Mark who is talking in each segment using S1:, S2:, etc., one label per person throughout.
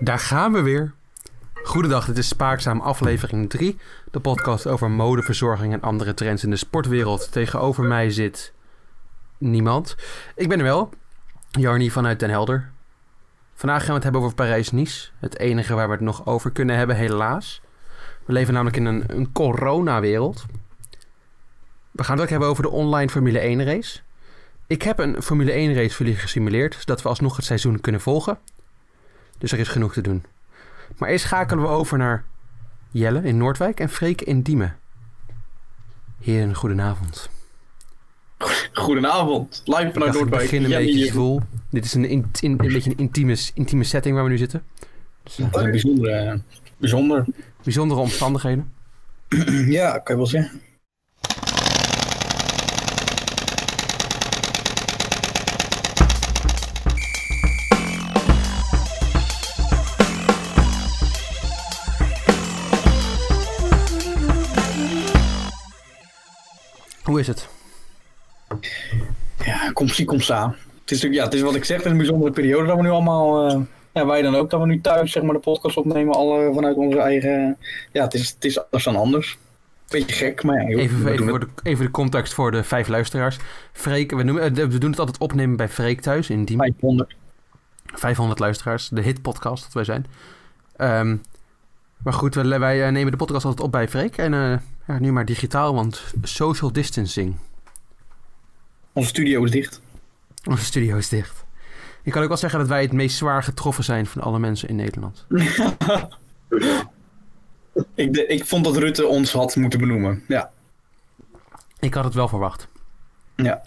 S1: Daar gaan we weer. Goedendag, dit is Spaakzaam aflevering 3. De podcast over mode, verzorging en andere trends in de sportwereld. Tegenover mij zit niemand. Ik ben er wel, Jarni vanuit Den Helder. Vandaag gaan we het hebben over Parijs-Nice. Het enige waar we het nog over kunnen hebben, helaas. We leven namelijk in een, een coronawereld. We gaan het ook hebben over de online Formule 1 race. Ik heb een Formule 1 race voor jullie gesimuleerd, zodat we alsnog het seizoen kunnen volgen. Dus er is genoeg te doen. Maar eerst schakelen we over naar Jelle in Noordwijk en Freek in Diemen. Heren, goedenavond.
S2: Goedenavond, live
S1: Ik
S2: vanuit
S1: dacht, ik
S2: Noordwijk.
S1: begin een
S2: Jemmy
S1: beetje
S2: hier.
S1: zwoel. Dit is een, in- in- een beetje een intieme, intieme setting waar we nu zitten. Dus, eh,
S2: Dat is een bijzondere, eh, bijzonder.
S1: bijzondere omstandigheden.
S2: Ja, kan je wel zeggen.
S1: Hoe is het?
S2: Ja, kom zie, kom sa. Het is natuurlijk, ja, het is wat ik zeg, het is een bijzondere periode dat we nu allemaal, eh, ja, wij dan ook, dat we nu thuis zeg maar de podcast opnemen, alle vanuit onze eigen, eh, ja, het is, het is anders dan anders. Beetje gek, maar ja, joh,
S1: Even,
S2: we
S1: even,
S2: doen
S1: voor de, even de context voor de vijf luisteraars. Freek, we, noemen, eh, we doen het altijd opnemen bij Freek thuis in Diemen.
S2: het 500.
S1: 500 luisteraars, de hitpodcast dat wij zijn. Ehm, maar goed, wij, wij eh, nemen de podcast altijd op bij Freek. En eh, ja, nu maar digitaal, want social distancing.
S2: Onze studio is dicht.
S1: Onze studio is dicht. Ik kan ook wel zeggen dat wij het meest zwaar getroffen zijn van alle mensen in Nederland.
S2: Ik, de- ik vond dat Rutte ons had moeten benoemen. Ja,
S1: Ik had het wel verwacht.
S2: ja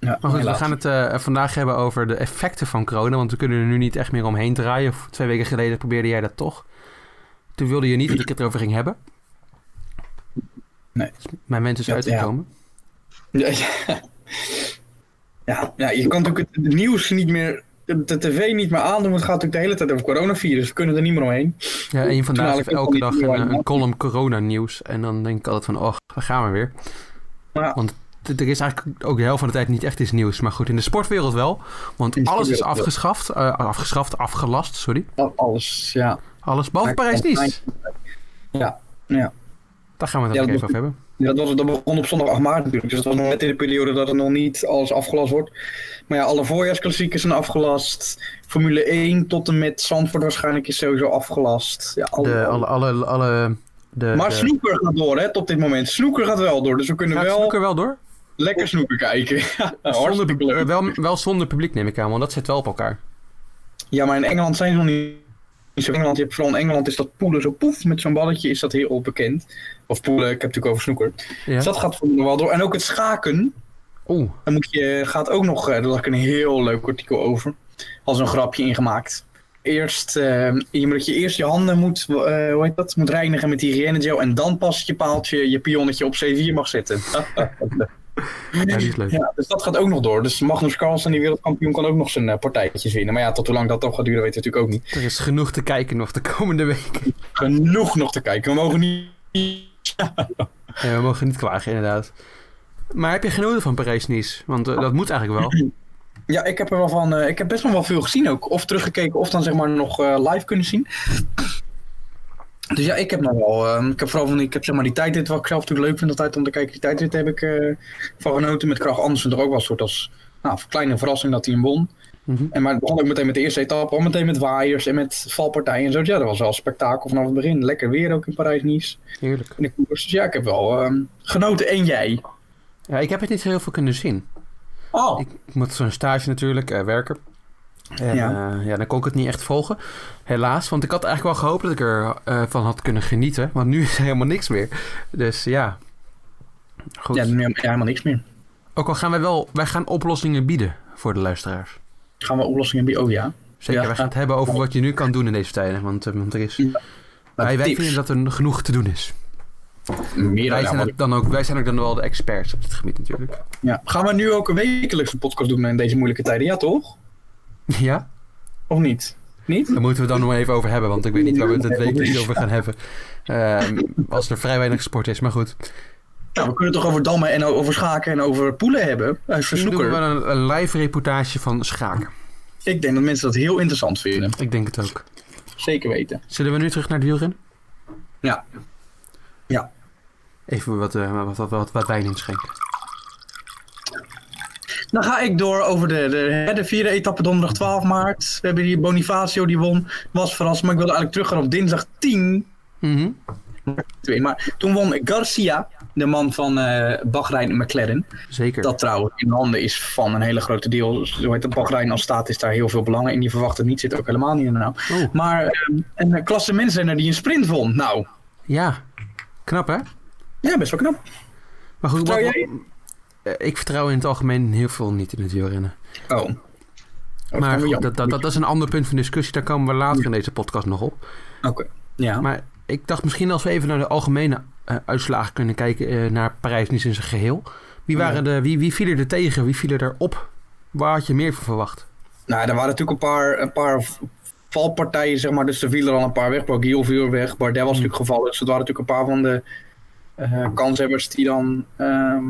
S1: Maar goed,
S2: helaas.
S1: we gaan het eh, vandaag hebben over de effecten van corona. Want we kunnen er nu niet echt meer omheen draaien. Twee weken geleden probeerde jij dat toch. Toen wilde je niet dat ik het erover ging hebben.
S2: Nee.
S1: Dus mijn wens is
S2: Ja,
S1: uitgekomen.
S2: Ja, ja. Ja, ja, je kan natuurlijk het nieuws niet meer, de, de tv niet meer aandoen. want Het gaat natuurlijk de hele tijd over coronavirus. We kunnen er niet meer omheen.
S1: Ja, en vandaag
S2: haal
S1: heeft
S2: ik ook
S1: elke
S2: van
S1: dag
S2: die
S1: een,
S2: online
S1: een
S2: markt.
S1: column corona-nieuws. En dan denk ik altijd van, oh, daar gaan we weer.
S2: Ja.
S1: Want t- er is eigenlijk ook de helft van de tijd niet echt iets nieuws. Maar goed, in de sportwereld wel.
S2: In
S1: Want
S2: de
S1: alles is
S2: sportwereld wel.
S1: afgeschaft. eh, afgeschaft, afgelast, sorry.
S2: Al- Oh, Alles, ja.
S1: Alles, behalve Parijs-Nice.
S2: Ja, ja.
S1: Daar gaan we het
S2: Ja,
S1: ook
S2: dat
S1: even over hebben.
S2: ja dat, was, dat begon op zondag 8 maart natuurlijk. Dus dat was nog net in de periode dat er nog niet alles afgelast wordt. Maar ja, alle voorjaarsklassiekers zijn afgelast. Formule 1 tot en met Zandvoort waarschijnlijk is sowieso afgelast. Ja, alle,
S1: De, alle, alle, alle, de,
S2: maar
S1: de-
S2: snoeker gaat door hè, tot dit moment. Snoeker gaat wel door, dus we kunnen
S1: Gaat
S2: wel
S1: snooker wel door?
S2: lekker snoeker kijken. Ja,
S1: Zonder,
S2: hartstikke leuk.
S1: eh, wel, wel zonder publiek neem ik aan, want dat zit wel op elkaar.
S2: Ja, maar in Engeland zijn ze nog niet. niet Zo in Engeland, je hebt, vooral in Engeland is dat poelen zo poef met zo'n balletje, is dat heel bekend. Of poelen, ik heb natuurlijk over snoeker.
S1: Ja.
S2: Dus dat gaat voor me wel door. En ook het schaken,
S1: Oeh,
S2: dan moet je, gaat ook nog, eh, daar lag een heel leuk artikel over. Als een grapje ingemaakt. Eerst, eh, je moet, dat je eerst je handen moet, eh, hoe heet dat? moet reinigen met hygiënegel en dan pas je paaltje, je pionnetje op C4 mag zetten.
S1: ja, die is leuk.
S2: Ja, dus dat gaat ook nog door. Dus Magnus Carlsen, die wereldkampioen, kan ook nog zijn eh, partijtjes winnen. Maar ja, tot hoe lang dat toch gaat duren, weet je natuurlijk ook niet.
S1: Er is genoeg te kijken nog de komende weken.
S2: genoeg nog te kijken. We mogen niet.
S1: Ja, we mogen niet klagen, inderdaad. Maar heb je genoten van Parijs-Nice? Want
S2: Oh.
S1: eh, dat moet eigenlijk wel.
S2: Ja, ik heb er wel van. eh, ik heb best nog wel veel gezien ook. Of teruggekeken, of dan zeg maar nog eh, live kunnen zien. Dus ja, ik heb nog wel. eh, ik heb vooral van. die- Ik heb zeg maar die tijdrit, wat ik zelf natuurlijk leuk vind altijd om te kijken. Die tijdrit heb ik eh, van genoten met Krach Andersen er ook wel een soort als. Nou, kleine verrassing dat hij een won.
S1: Mhm.
S2: En maar het begon ook meteen met de eerste etappe, al meteen met waaiers en met valpartijen en zo. Dus ja, dat was wel een spektakel vanaf het begin. Lekker weer ook in Parijs-Nice.
S1: Heerlijk.
S2: in de koers. Dus ja, ik heb wel eh, genoten. En jij?
S1: Ja, ik heb het niet zo heel veel kunnen zien.
S2: Oh,
S1: Ik ik moet zo'n stage natuurlijk eh, werken. En, ja.
S2: Ja.
S1: ja, dan kon ik het niet echt volgen. Helaas, want ik had eigenlijk wel gehoopt dat ik ervan van had kunnen genieten. Want nu is er helemaal niks meer. Dus ja. Goed.
S2: ja, nu- ja, helemaal niks meer.
S1: Ook al gaan wij wel, wij gaan oplossingen bieden voor de luisteraars.
S2: Gaan we oplossingen bieden? Oh ja.
S1: Zeker,
S2: Ja.
S1: wij gaan het hebben over wat je nu kan doen in deze tijden. Want, eh, want er is, wij, wij vinden dat er genoeg te doen is.
S2: meer
S1: Wij
S2: dan
S1: zijn, ook dan ook, wij zijn ook dan wel de experts op dit gebied natuurlijk.
S2: ja. Gaan we nu ook een wekelijkse podcast doen in deze moeilijke tijden? Ja, toch?
S1: Ja,
S2: Of niet? Niet?
S1: daar moeten we het dan nog even over hebben. Want ik weet niet waar we het dit week niet over gaan hebben. Ehm, als er vrij weinig sport is, maar goed.
S2: Nou, we kunnen het toch over dammen en over schaken en over poelen hebben. Eh, Als
S1: Misschien doen we
S2: verzoeker.
S1: wel een, een live reportage van Schaken.
S2: Ik denk dat mensen dat heel interessant vinden.
S1: Ik denk het ook.
S2: Zeker weten.
S1: Zullen we nu terug naar het wielrennen?
S2: Ja. Ja.
S1: Even wat, eh, wat, wat, wat, wat wijn inschenken.
S2: Dan ga ik door over de, de, hè, de vierde etappe donderdag 12 maart. We hebben hier Bonifacio die won. Was verrassend, maar ik wilde eigenlijk teruggaan op dinsdag 10
S1: Mhm.
S2: twee. Maar toen won Garcia, de man van eh Bahrein en McLaren.
S1: Zeker.
S2: Dat trouwens in handen is van een hele grote deel. Zo heet het Bahrein als staat is daar heel veel belangen. En die verwacht het niet, zit ook helemaal niet in de naam.
S1: Oh,
S2: Maar ehm, een klassementsrenner die een sprint won. Nou,
S1: ja. Knap, hè?
S2: ja, best wel knap.
S1: Maar goed,
S2: Vertrouw
S1: wat- eh, ik vertrouw in het algemeen heel veel niet in het wielrennen.
S2: Oh. Dat
S1: maar
S2: kan
S1: goed,
S2: wel
S1: dat, dat, dat is een ander punt van discussie. Daar komen we later in deze podcast nog op.
S2: Oké. Ja.
S1: Maar ik dacht misschien als we even naar de algemene eh, uitslagen kunnen kijken eh, naar Parijs-Nice in zijn geheel. Wie, waren de, wie, wie vielen er tegen? Wie vielen er op? Waar had je meer van verwacht?
S2: Nou, er waren natuurlijk een paar, een paar v- valpartijen, zeg maar. Dus er vielen er al een paar weg. Guillaume viel weg.
S1: Hmm.
S2: Bardet was natuurlijk gevallen. Dus het waren natuurlijk een paar van de eh, kanshebbers die dan... ehm,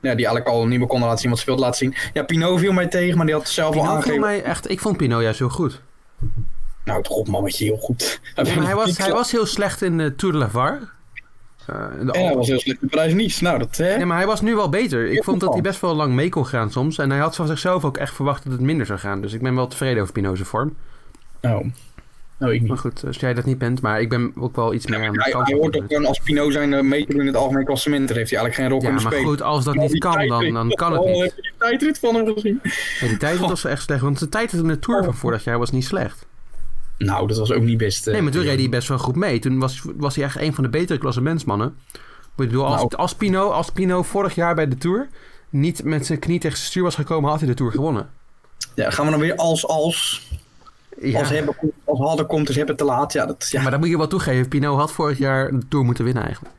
S2: ja, die eigenlijk al niet meer konden laten zien wat ze wilden laten zien. Ja, Pinot viel mij tegen, maar die had zelf al
S1: Pinot viel
S2: aangegeven...
S1: mij echt, ik vond Pinot juist heel goed.
S2: Nou, toch op, mannetje, heel goed.
S1: Maar hij, was, hij was heel slecht in de Tour de Lavar. Eh, in de
S2: En hij
S1: Alpen.
S2: was heel slecht in Parijs niets. Nou, dat... Hè?
S1: Nee, maar hij was nu wel beter. Ik
S2: Ja,
S1: vond dat hij
S2: man.
S1: best wel lang mee kon gaan soms. En hij had van zichzelf ook echt verwacht dat het minder zou gaan. Dus ik ben wel tevreden over Pinot's vorm.
S2: Nou, nou, ik niet.
S1: Maar goed, als jij dat niet bent. Maar ik ben ook wel iets meer aan de
S2: Hij,
S1: kant.
S2: hij
S1: van
S2: hoort ook
S1: Pinot.
S2: gewoon als Pinot zijn eh, meedoen in het algemeen klassement. Daar heeft hij eigenlijk geen rol
S1: Ja,
S2: kunnen
S1: maar
S2: spelen.
S1: goed, als dat
S2: Maar
S1: niet
S2: die
S1: kan, dan,
S2: tijdrit-
S1: dan kan het
S2: Oh,
S1: niet.
S2: Heb je die tijdrit van hem gezien?
S1: Ja, die tijd was wel echt slecht. Want de tijd in de Tour van
S2: Oh.
S1: vorig jaar was niet slecht.
S2: Nou, dat was ook niet best. eh,
S1: Nee, maar toen reed hij best wel goed mee. Toen was, was hij echt een van de betere klassementsmannen. Ik bedoel, als,
S2: Nou.
S1: als, Pino, als Pino vorig jaar bij de Tour niet met zijn knie tegen zijn stuur was gekomen, had hij de Tour gewonnen.
S2: Ja, gaan we dan weer als, als.
S1: Ja,
S2: Als, hebben, komt- als hadden komt, is hebben te laat. Ja, dat, ja.
S1: maar dat moet je wel toegeven. Pino had vorig jaar de Tour moeten winnen eigenlijk.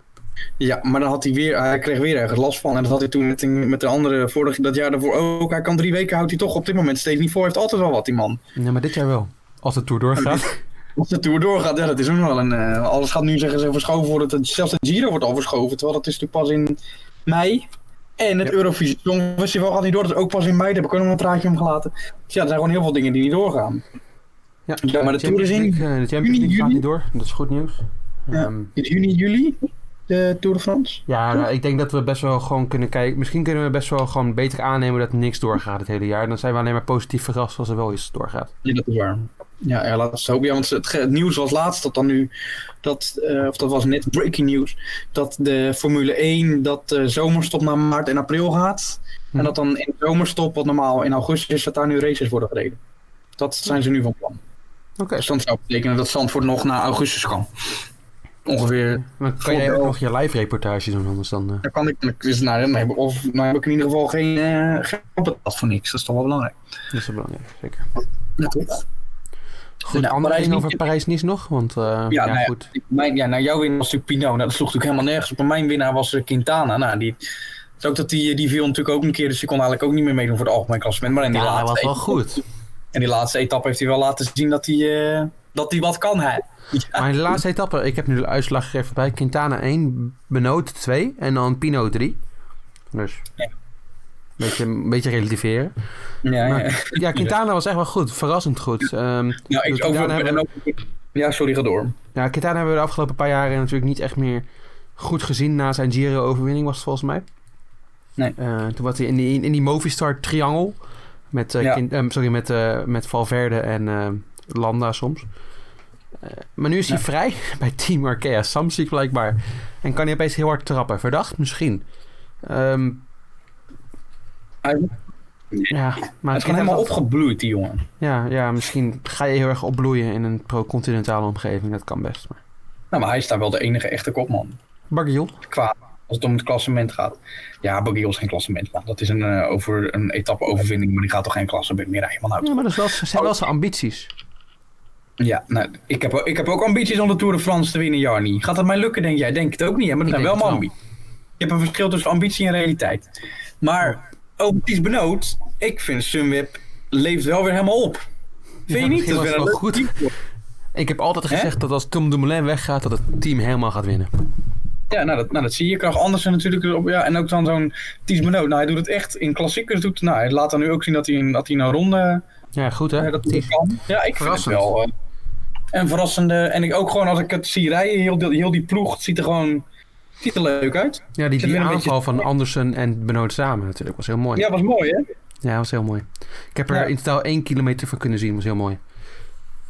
S2: ja, maar dan had hij weer, hij kreeg weer ergens last van. En dat had hij toen met, een- met de andere, vorig dat jaar daarvoor ook. Hij kan drie weken, houdt hij toch op dit moment steeds niet voor. Hij heeft altijd wel wat, die man.
S1: Ja, maar dit jaar wel. Als de Tour doorgaat.
S2: Als de Tour doorgaat, ja, dat is ook nog wel een... eh, alles gaat nu zeggen ze verschoven worden. Dat, zelfs de Giro wordt al verschoven. Terwijl dat is natuurlijk pas in mei. En het
S1: Ja.
S2: Eurovisie Songfestival gaat niet door. Dat is ook pas in mei. Daar heb ik ook nog een traantje om gelaten. Dus ja, er zijn gewoon heel veel dingen die niet doorgaan.
S1: Ja,
S2: Ja, maar de Tour is in
S1: Champions League, eh, De Champions
S2: juni,
S1: League gaat
S2: juli.
S1: niet door. Dat is goed nieuws.
S2: Ja.
S1: Ehm,
S2: In juni, juli, de Tour de France.
S1: Ja, nou, ik denk dat we best wel gewoon kunnen kijken. Misschien kunnen we best wel gewoon beter aannemen dat niks doorgaat het hele jaar. Dan zijn we alleen maar positief verrast als er wel iets doorgaat.
S2: Ja, dat is waar. Ja, ja laten we het hopen. Ja, want het, ge- het nieuws was laatst dat dan nu, dat, eh, of dat was net breaking news, dat de Formule 1 dat de zomerstop naar maart en april gaat.
S1: Hm.
S2: En dat dan in de zomerstop, wat normaal in augustus is, dat daar nu races worden gereden. Dat zijn ze nu van plan.
S1: Oké.
S2: Dus dat zou betekenen dat Zandvoort nog naar augustus kan. Ongeveer,
S1: Maar kan jij ook nog je live reportage doen anders dan... eh,
S2: daar kan ik, dus, nou, dan heb ik- of, nou heb ik in ieder geval geen, eh geen betaald voor niks. Dat is toch wel belangrijk.
S1: dat is wel belangrijk, zeker.
S2: Ja, toch?
S1: Goed,
S2: Nou,
S1: andere
S2: Parijs
S1: dingen
S2: niet-
S1: over Parijs-Nice nog? Want eh, ja,
S2: nou ja.
S1: goed.
S2: Mijn, ja, nou, jouw winnaar was natuurlijk Pino. Nou, dat sloeg natuurlijk helemaal nergens op. Maar mijn winnaar was eh, Quintana. Nou, die, het is ook dat die, die viel natuurlijk ook een keer. Dus die kon eigenlijk ook niet meer meedoen voor het algemeen klassement. Maar in die,
S1: Ja, hij
S2: laatste,
S1: was wel
S2: etappe-
S1: goed.
S2: in die laatste etappe heeft hij wel laten zien dat hij, eh, dat hij wat kan. Hè. Ja.
S1: Maar in de laatste etappe, ik heb nu de uitslag er even bij. Quintana 1, Benoot 2 en dan Pino 3. Dus...
S2: Ja.
S1: Beetje, een beetje relativeren.
S2: Ja, ja.
S1: Maar, ja, Quintana was echt wel goed. Verrassend goed. Ehm,
S2: Nou,
S1: dus
S2: ik
S1: daarna
S2: over,
S1: hebben
S2: en
S1: we-
S2: ook, ja, sorry, ga door.
S1: Nou, Quintana hebben we de afgelopen paar jaren natuurlijk niet echt meer goed gezien. Na zijn Giro-overwinning was het volgens mij.
S2: Nee.
S1: Eh, toen was hij in die, in die Movistar-triangel. Met, eh,
S2: Ja.
S1: Quin- ehm, sorry, met, eh, met Valverde en eh, Landa soms. Eh, maar nu is hij
S2: Ja.
S1: vrij bij Team Arkea. Samsic blijkbaar. En kan hij opeens heel hard trappen. Verdacht misschien. Ehm,
S2: Hij-
S1: ja, maar
S2: Het is gewoon helemaal opgebloeid, die jongen.
S1: Ja, ja, misschien ga je heel erg opbloeien in een pro-continentale omgeving. Dat kan best. Maar...
S2: Nou, maar hij is daar wel de enige echte kopman.
S1: Barguil.
S2: Qua als het om het klassement gaat. Ja, Bagil is geen klassementman. Dat is een, eh, over, een etappe-overwinning. Maar die gaat toch geen klassement meer rijden. Man, houdt
S1: Ja, maar dat is wel, zijn wel zijn ambities.
S2: Ja, nou, ik heb, ik heb ook ambities om de Tour de France te winnen, Jarni. Gaat dat mij lukken, denk jij? Denk het ook niet, hè? maar dat
S1: Ik
S2: zijn wel
S1: denk
S2: mijn
S1: het wel.
S2: ambities. Je hebt een verschil tussen ambitie en realiteit. Maar, ook iets benoemd, ik vind Sunweb leeft wel weer helemaal op. Vind
S1: Ja,
S2: je niet?
S1: misschien
S2: Dat
S1: was
S2: is weer een
S1: het
S2: leuk
S1: wel
S2: team.
S1: Ik heb altijd
S2: Hè?
S1: gezegd dat als Tom Dumoulin weggaat, dat het team helemaal gaat winnen.
S2: Ja, nou dat, nou, dat zie je. Krach Andersen natuurlijk erop. Ja, en ook dan zo'n Ties Benoot. Nou, hij doet het echt in klassiekers. Doet, nou, hij laat dan nu ook zien dat hij, een- dat hij een ronde
S1: Ja, goed hè?
S2: eh, dat hij
S1: Precies.
S2: kan. Ja, ik vind het
S1: Verrassend.
S2: wel... eh, En verrassende. En ik ook gewoon als ik het zie rijden, heel, die- heel die ploeg, het ziet er gewoon het ziet er leuk uit.
S1: Ja, die, die
S2: Zit weer een
S1: aanval
S2: beetje-
S1: van Andersen en Benoot samen natuurlijk was heel mooi.
S2: Ja, was mooi hè?
S1: Ja, was heel mooi. Ik heb er
S2: Ja.
S1: in totaal één kilometer van kunnen zien. was heel mooi.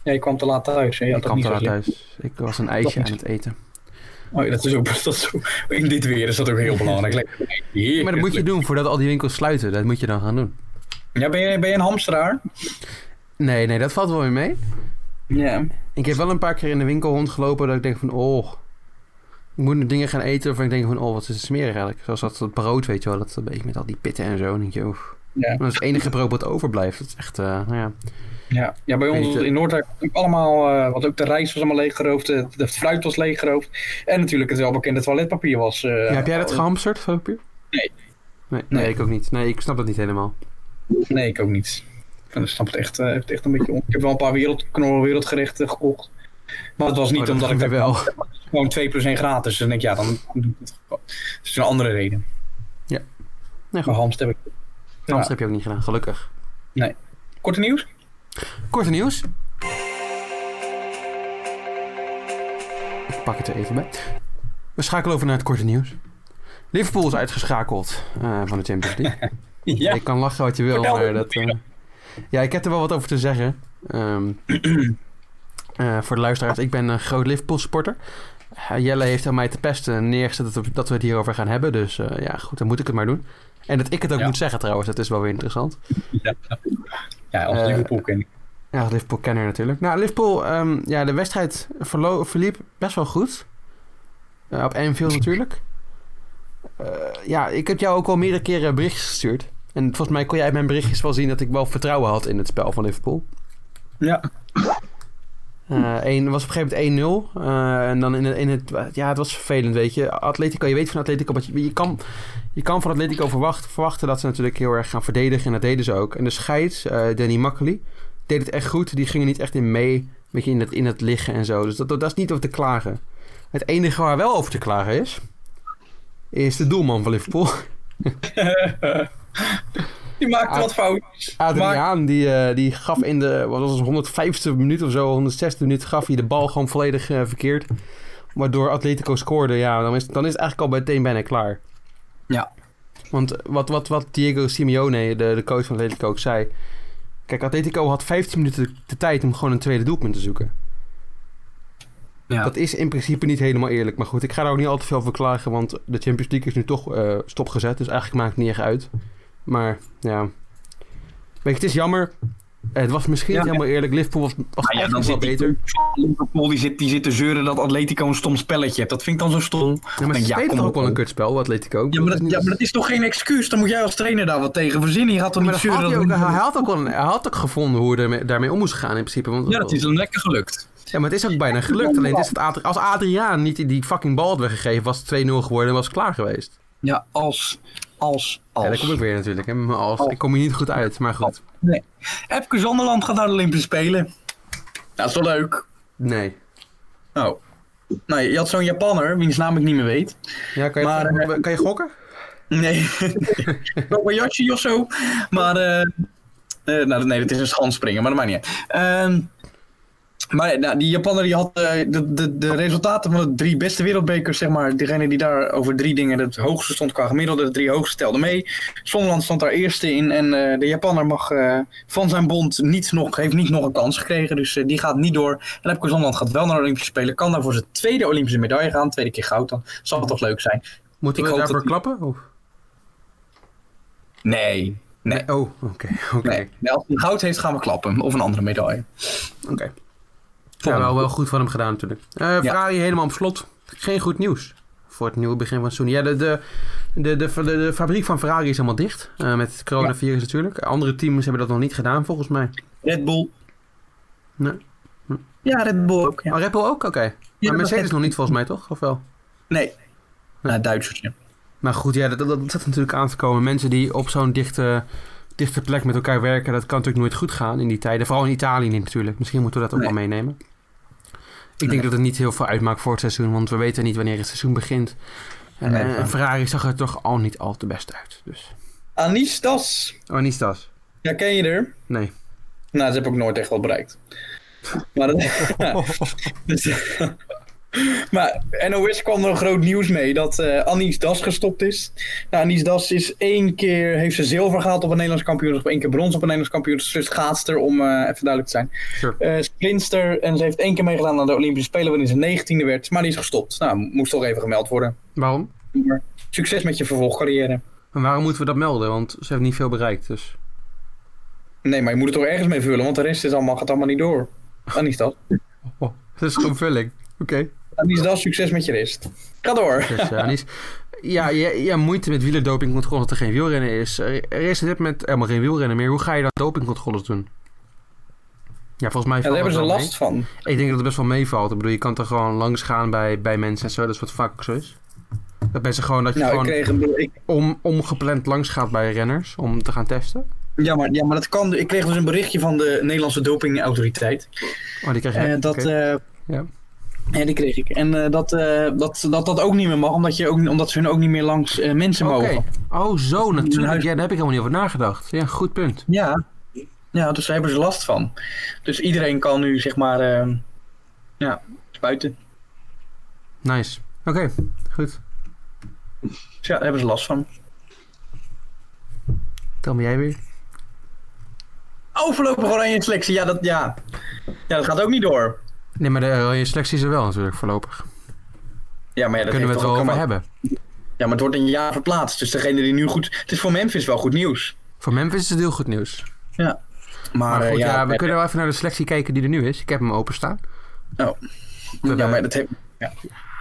S2: Ja, je kwam te laat thuis. hè. Je had
S1: ik
S2: dat
S1: kwam
S2: niet
S1: te
S2: zo
S1: laat
S2: slim.
S1: thuis. Ik was een ijsje
S2: niet.
S1: aan het eten.
S2: Oh, ja, dat is ook dat is ook- in dit weer is dat ook heel belangrijk. Lekker.
S1: Maar dat moet je doen voordat al die winkels sluiten. Dat moet je dan gaan doen.
S2: Ja, ben je, ben je een hamsteraar?
S1: Nee, nee, dat valt wel weer mee.
S2: Ja.
S1: Ik heb wel een paar keer in de winkel rondgelopen dat ik denk van... Oh, ik moet nu dingen gaan eten waarvan ik denk van... Oh, wat is het smerig eigenlijk. Zoals dat, dat brood, weet je wel. Dat een beetje met al die pitten en zo. Dan denk je, oh, oef.
S2: Ja.
S1: Maar dat is het enige brood wat overblijft. Dat is echt, eh, nou ja.
S2: Ja, ja bij
S1: Weet
S2: ons
S1: je-
S2: in Noordwijk ook allemaal, eh wat ook de rijst was allemaal leeggeroofd, de, de fruit was leeggeroofd. En natuurlijk het welbekende toiletpapier was. eh,
S1: Ja, heb jij dat gehamsterd, Papier?
S2: Nee.
S1: nee. Nee,
S2: Nee.
S1: ik ook niet. Nee, ik snap dat niet helemaal.
S2: Nee, ik ook niet. Ik snap het echt, eh, echt een beetje om. Ik heb wel een paar wereldknorren wereldgerechten gekocht. Maar het was niet
S1: Oh, dat
S2: omdat ik
S1: ging
S2: dat
S1: weer wel.
S2: gewoon 2 plus 1 gratis. Dus dan denk ik, ja, dan doe ik het gewoon. Dus het is een andere reden.
S1: Ja.
S2: Nou,
S1: Nee, goed.
S2: maar Hamst heb ik.
S1: Hamster
S2: Ja.
S1: heb je ook niet gedaan, gelukkig.
S2: Korte nieuws?
S1: Korte nieuws. Ik pak het er even bij. We schakelen over naar het korte nieuws. Liverpool is uitgeschakeld eh, van de Champions League.
S2: Ja.
S1: Je kan lachen wat je wil,
S2: Vertel.
S1: maar dat... eh, ja, ik heb er wel wat over te zeggen. Ehm, eh, voor de luisteraars, ik ben een groot Liverpool supporter. Eh, Jelle heeft aan mij te pesten neergezet dat we, dat we het hierover gaan hebben. Dus eh, ja, goed, dan moet ik het maar doen. En dat ik het ook
S2: Ja.
S1: moet zeggen trouwens, dat is wel weer interessant.
S2: Ja, ja als
S1: Eh,
S2: Liverpool ken ik.
S1: Ja, Liverpool kenner natuurlijk. Nou, Liverpool, ehm, ja, de wedstrijd verlo- verliep best wel goed. Eh, op Anfield natuurlijk. Eh, ja, ik heb jou ook al meerdere keren berichtjes gestuurd. En volgens mij kon jij uit mijn berichtjes wel zien dat ik wel vertrouwen had in het spel van Liverpool.
S2: Ja.
S1: Eh, één- het was op een gegeven moment 1-0. Eh, en dan in, het- in het... Ja, het was vervelend, weet je. Atletico, je weet van Atletico... wat Je, je, kan, je kan van Atletico verwachten, verwachten dat ze natuurlijk heel erg gaan verdedigen. En dat deden ze ook. En de scheids, eh, Danny Makkely, deed het echt goed. Die gingen niet echt in mee. Weet je, in het, in het liggen en zo. Dus dat, dat is niet over te klagen. Het enige waar wel over te klagen is... is de doelman van Liverpool.
S2: Die maakte
S1: Ah.
S2: wat fout.
S1: Adriaan, die, eh, die gaf in de wat was het, 105e minuut of zo, 106e minuut, gaf hij de bal gewoon volledig eh, verkeerd. Waardoor Atletico scoorde. Ja, dan is, dan is het eigenlijk al meteen bijna klaar.
S2: Ja.
S1: Want wat, wat, wat Diego Simeone, de, de coach van Atletico, ook zei. Kijk, Atletico had 15 minuten de, de tijd om gewoon een tweede doelpunt te zoeken.
S2: Ja.
S1: Dat is in principe niet helemaal eerlijk. Maar goed, ik ga daar ook niet al te veel over klagen. Want de Champions League is nu toch eh, stopgezet. Dus eigenlijk maakt het niet echt uit. Maar ja. Weet je, het is jammer. Eh, Het was misschien
S2: Ja.
S1: niet helemaal eerlijk. Liverpool was, was
S2: Maar Ah, ja,
S1: echt
S2: dan
S1: nog wel
S2: zit die
S1: beter.
S2: coach van Liverpool die zit, die zit te zeuren dat Atletico een stom spelletje heeft. Dat vind ik dan zo stom.
S1: Ja, maar ze
S2: Ja,
S1: spelen
S2: kom
S1: toch ook
S2: op,
S1: wel een
S2: hoor.
S1: kutspel, wat Atletico. ook.
S2: Ja maar, dat,
S1: is
S2: ja,
S1: niet-
S2: maar dat is toch geen excuus? Dan moet jij als trainer daar wat tegen verzinnen. Je gaat toch
S1: Maar
S2: niet
S1: dat had
S2: zeuren
S1: hij,
S2: dat
S1: ook,
S2: we-
S1: hij, had ook wel, een- hij had ook gevonden hoe hij ermee- daarmee om moest gaan in principe. Want,
S2: Ja, dat is hem lekker gelukt.
S1: ja, maar het is ook bijna gelukt. Alleen het is het Adri- als Adriaan niet die fucking bal had weggegeven, was het 2-0 geworden en was het klaar geweest.
S2: Ja, als, als, als.
S1: Ja, daar kom ik weer natuurlijk. Hè. Maar Als,
S2: Als.
S1: ik kom hier niet goed uit, maar goed.
S2: Epke Zonderland gaat naar de Olympische Spelen. Nou, dat is wel leuk.
S1: Nee.
S2: Oh. Nou, je had zo'n Japanner, wiens naam ik niet meer weet.
S1: Ja, kan je,
S2: Maar, eh,
S1: kan je gokken?
S2: Nee. Kobayashi of zo. Maar, eh, eh, nou, nee, dat is een schanspringen, maar dat maakt niet uit. Ehm, maar nou, die Japaner die had eh, de, de, de resultaten van de drie beste wereldbekers, zeg maar. Degene die daar over drie dingen het hoogste stond qua gemiddelde, de drie hoogste telden mee. Zonderland stond daar eerste in en eh, de Japanner mag eh, van zijn bond niet nog, heeft niet nog een kans gekregen. Dus eh, die gaat niet door. En Epke Zonderland gaat wel naar de Olympische Spelen, kan daar voor zijn tweede Olympische medaille gaan. Tweede keer goud dan. Zal toch leuk zijn?
S1: Moeten
S2: ik
S1: we
S2: hoop
S1: daarvoor
S2: dat die-
S1: klappen? Of?
S2: Nee, Nee.
S1: Oh, oké. oké.
S2: Nee, nee, als hij goud heeft gaan we klappen. Of een andere medaille.
S1: Oké. Ja, wel, wel goed van hem gedaan natuurlijk. Eh Ferrari helemaal op slot. Geen goed nieuws voor het nieuwe begin van het seizoen. Ja, de, de, de, de, de, de fabriek van Ferrari is helemaal dicht. eh, met het coronavirus natuurlijk. Andere teams hebben dat nog niet gedaan volgens mij.
S2: Red Bull.
S1: Nee. Hm.
S2: Ja, Red Bull ook. Ja.
S1: Oh, Red Bull ook? Oké.
S2: Ja,
S1: maar
S2: dat
S1: Mercedes
S2: was-
S1: nog niet volgens mij toch? Of wel?
S2: Nee. Nou, Duitsertje.
S1: Maar goed, ja, dat, dat, dat zit natuurlijk aan te komen. Mensen die op zo'n dichte, dichte plek met elkaar werken, dat kan natuurlijk nooit goed gaan in die tijden. Vooral in Italië niet natuurlijk. Misschien moeten we dat ook
S2: Nee.
S1: wel meenemen. Ik
S2: Nee.
S1: denk dat het niet heel veel uitmaakt voor het seizoen, want we weten niet wanneer het seizoen begint. En,
S2: Nee,
S1: eh,
S2: waar.
S1: Ferrari zag er toch al niet al te best uit. Dus.
S2: Anis Das.
S1: Oh, niet dat.
S2: Ja, ken je er?
S1: Nee.
S2: Nou, ze hebben ook nooit echt wat bereikt. Maar, dat, ja. dus, maar NOS kwam er een groot nieuws mee dat eh Anies Das gestopt is. Nou, Anies Das is één keer, heeft ze zilver gehaald op een Nederlands kampioenschap, één keer brons op een Nederlands kampioenschap. Dus schaatster, om eh, even duidelijk te zijn.
S1: Sure.
S2: Eh, sprinster, en ze heeft één keer meegedaan aan de Olympische Spelen waarin ze negentiende werd. Maar die is gestopt. Nou, moest toch even gemeld worden.
S1: Waarom?
S2: Maar Succes met je vervolgcarrière.
S1: En waarom moeten we dat melden? Want ze heeft niet veel bereikt, dus...
S2: Nee, maar je moet het toch ergens mee vullen, want de rest is allemaal, gaat allemaal niet door. Anies Das.
S1: Oh, dat is gewoon vulling. Oké.
S2: Anies Das, succes met je rest. Ga door.
S1: Dus, eh, Anies, ja, ja, ja, moeite met wielerdoping komt gewoon dat er geen wielrennen is. Er er is op dit moment helemaal geen wielrennen meer. Hoe ga je dan dopingcontroles doen? Ja, volgens mij
S2: Ja, daar
S1: valt
S2: hebben ze
S1: dat wel
S2: last van.
S1: mee. Ik denk dat het best wel meevalt. Ik bedoel, je kan er gewoon langs gaan bij, bij mensen en zo. Dat is wat vaak zo is. Dat mensen gewoon, dat je
S2: Nou, ik
S1: gewoon
S2: kreeg een, ik-
S1: om, ongepland langs gaat bij renners om te gaan testen.
S2: ja, maar, ja, maar dat kan. Ik kreeg dus een berichtje van de Nederlandse dopingautoriteit.
S1: Oh, die krijg je.
S2: Eh, dat,
S1: oké.
S2: eh,
S1: Ja.
S2: ja, die kreeg ik. En eh, dat, eh, dat, dat dat ook niet meer mag, omdat, je ook, omdat ze hun ook niet meer langs eh, mensen
S1: Oké.
S2: mogen.
S1: Oh, zo natuurlijk.
S2: huis-
S1: Ja, daar heb ik helemaal niet over nagedacht. Ja, goed punt.
S2: Ja. ja, dus daar hebben ze last van. Dus iedereen kan nu, zeg maar, eh, ja, spuiten.
S1: Nice. Oké, goed.
S2: Dus ja, daar hebben ze last van.
S1: Tel me jij weer.
S2: Oh, voorlopig oranje selectie. Ja dat, ja. ja, dat gaat ook niet door.
S1: Nee, maar de oranje selectie is er wel natuurlijk voorlopig.
S2: Ja, maar
S1: Daar
S2: ja, dat
S1: kunnen we
S2: heeft
S1: het
S2: toch
S1: wel
S2: ook
S1: over
S2: allemaal-
S1: hebben.
S2: Ja, maar het wordt een jaar verplaatst. Dus degene die nu goed... Het is voor Memphis wel goed nieuws.
S1: Voor Memphis is het heel goed nieuws.
S2: Maar,
S1: Maar goed,
S2: eh,
S1: ja,
S2: ja,
S1: we kunnen wel even naar de selectie kijken die er nu is. Ik heb hem openstaan.
S2: Oh.
S1: We,
S2: ja, maar
S1: hebben-
S2: dat heeft...